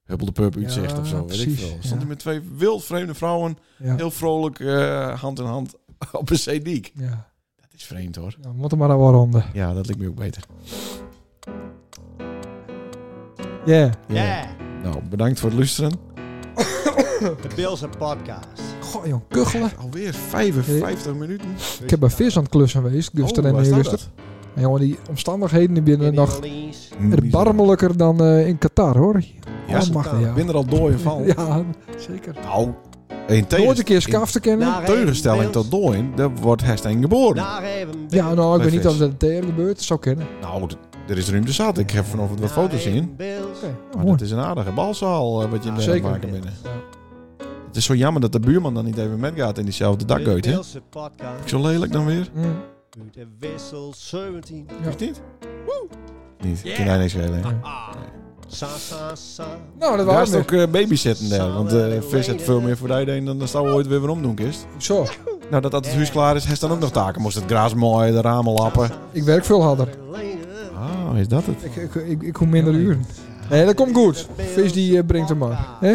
Huppel de Purp iets
Ja,
zegt of zo, weet ik
precies,
veel. Stond
ja.
hij met twee wild vreemde vrouwen,
ja.
heel vrolijk, eh, hand in hand op een CD.
ja.
Dat is vreemd hoor.
Nou, we moeten maar aan worden.
Ja, dat lijkt me ook beter.
Ja.
Yeah,
Nou, bedankt voor het luisteren.
de Bills en podcast.
Goh, jong, kuchelen.
Alweer 55 minuten.
Ik heb bij vis aan het klussen geweest, dus dan
oh, waar
en
staat
rustig.
dat?
En jongen, die omstandigheden die binnen nog
Orleans.
erbarmelijker dan eh, in Qatar, hoor.
Ja,
Oh, mag, ja.
Ik ben er al dooien van.
Ja, zeker.
Nou, in
Nooit een keer
tegen
skaf te kennen.
Naar
tegenstelling
Evenbeeld.
tot dooien, daar wordt Hestijn geboren.
Naar Evenbeeld.
Ja, nou, ik
Bij
weet niet
vis.
of dat het TR gebeurt. Het zou kennen.
Nou, d- er is ruimte zat. Ik heb vanochtend wat
Naar
foto's zien.
Evenbeeld.
Oké, nou,
Maar
mooi.
dat is een aardige balzaal eh, wat je daar
Naar
aan het
Zeker.
maken bent.
Evenbeeld.
Het is zo jammer dat de buurman dan niet even met gaat in diezelfde dakgeut,
De
hè?
Bills en podcast.
Zo lelijk dan weer.
Mm.
Uit de wissel 17.
Is het niet? Niet. Kan hij niks schelen. hè?
Ah, sa, sa, sa.
Nou, dat
Daar
was
is ook
het.
eh, babysitten daar, want eh Vis heeft veel meer voor die ding dan dat zou ooit weer weer omdoen kist.
Zo,
Nou, dat dat het huis klaar is, heeft dan ook nog taken. Moest het gras mooien, de ramen lappen.
ik werk veel harder.
Ah, is dat het?
Ik, ik, ik, ik hoe minder uren. Nee, dat komt goed. Vis die eh, brengt hem maar. Hè?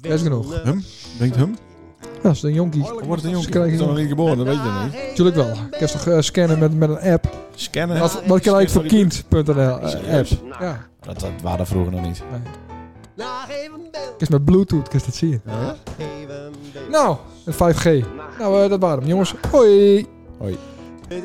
Dat is genoeg.
Hem? Denkt hem?
Ja, dat is een jonkie.
Dan wordt het een
Ze
jongen.
krijgen
Is dan nog
nog-
niet geboren, Oh, dat weet je niet.
Tuurlijk wel. Ik heb toch eh, scannen met, met een app.
Scannen.
Wat, wat krijg ik voor kind.nl eh, app?
Serieus?
Ja.
Dat, dat waren vroeger nog niet.
Naar Evenbeeld.
Ik is met Bluetooth, ik is dat zien.
Evenbeeld.
Nou, een 5G. Nou, eh, dat waren hem. Jongens, hoi.
Hoi.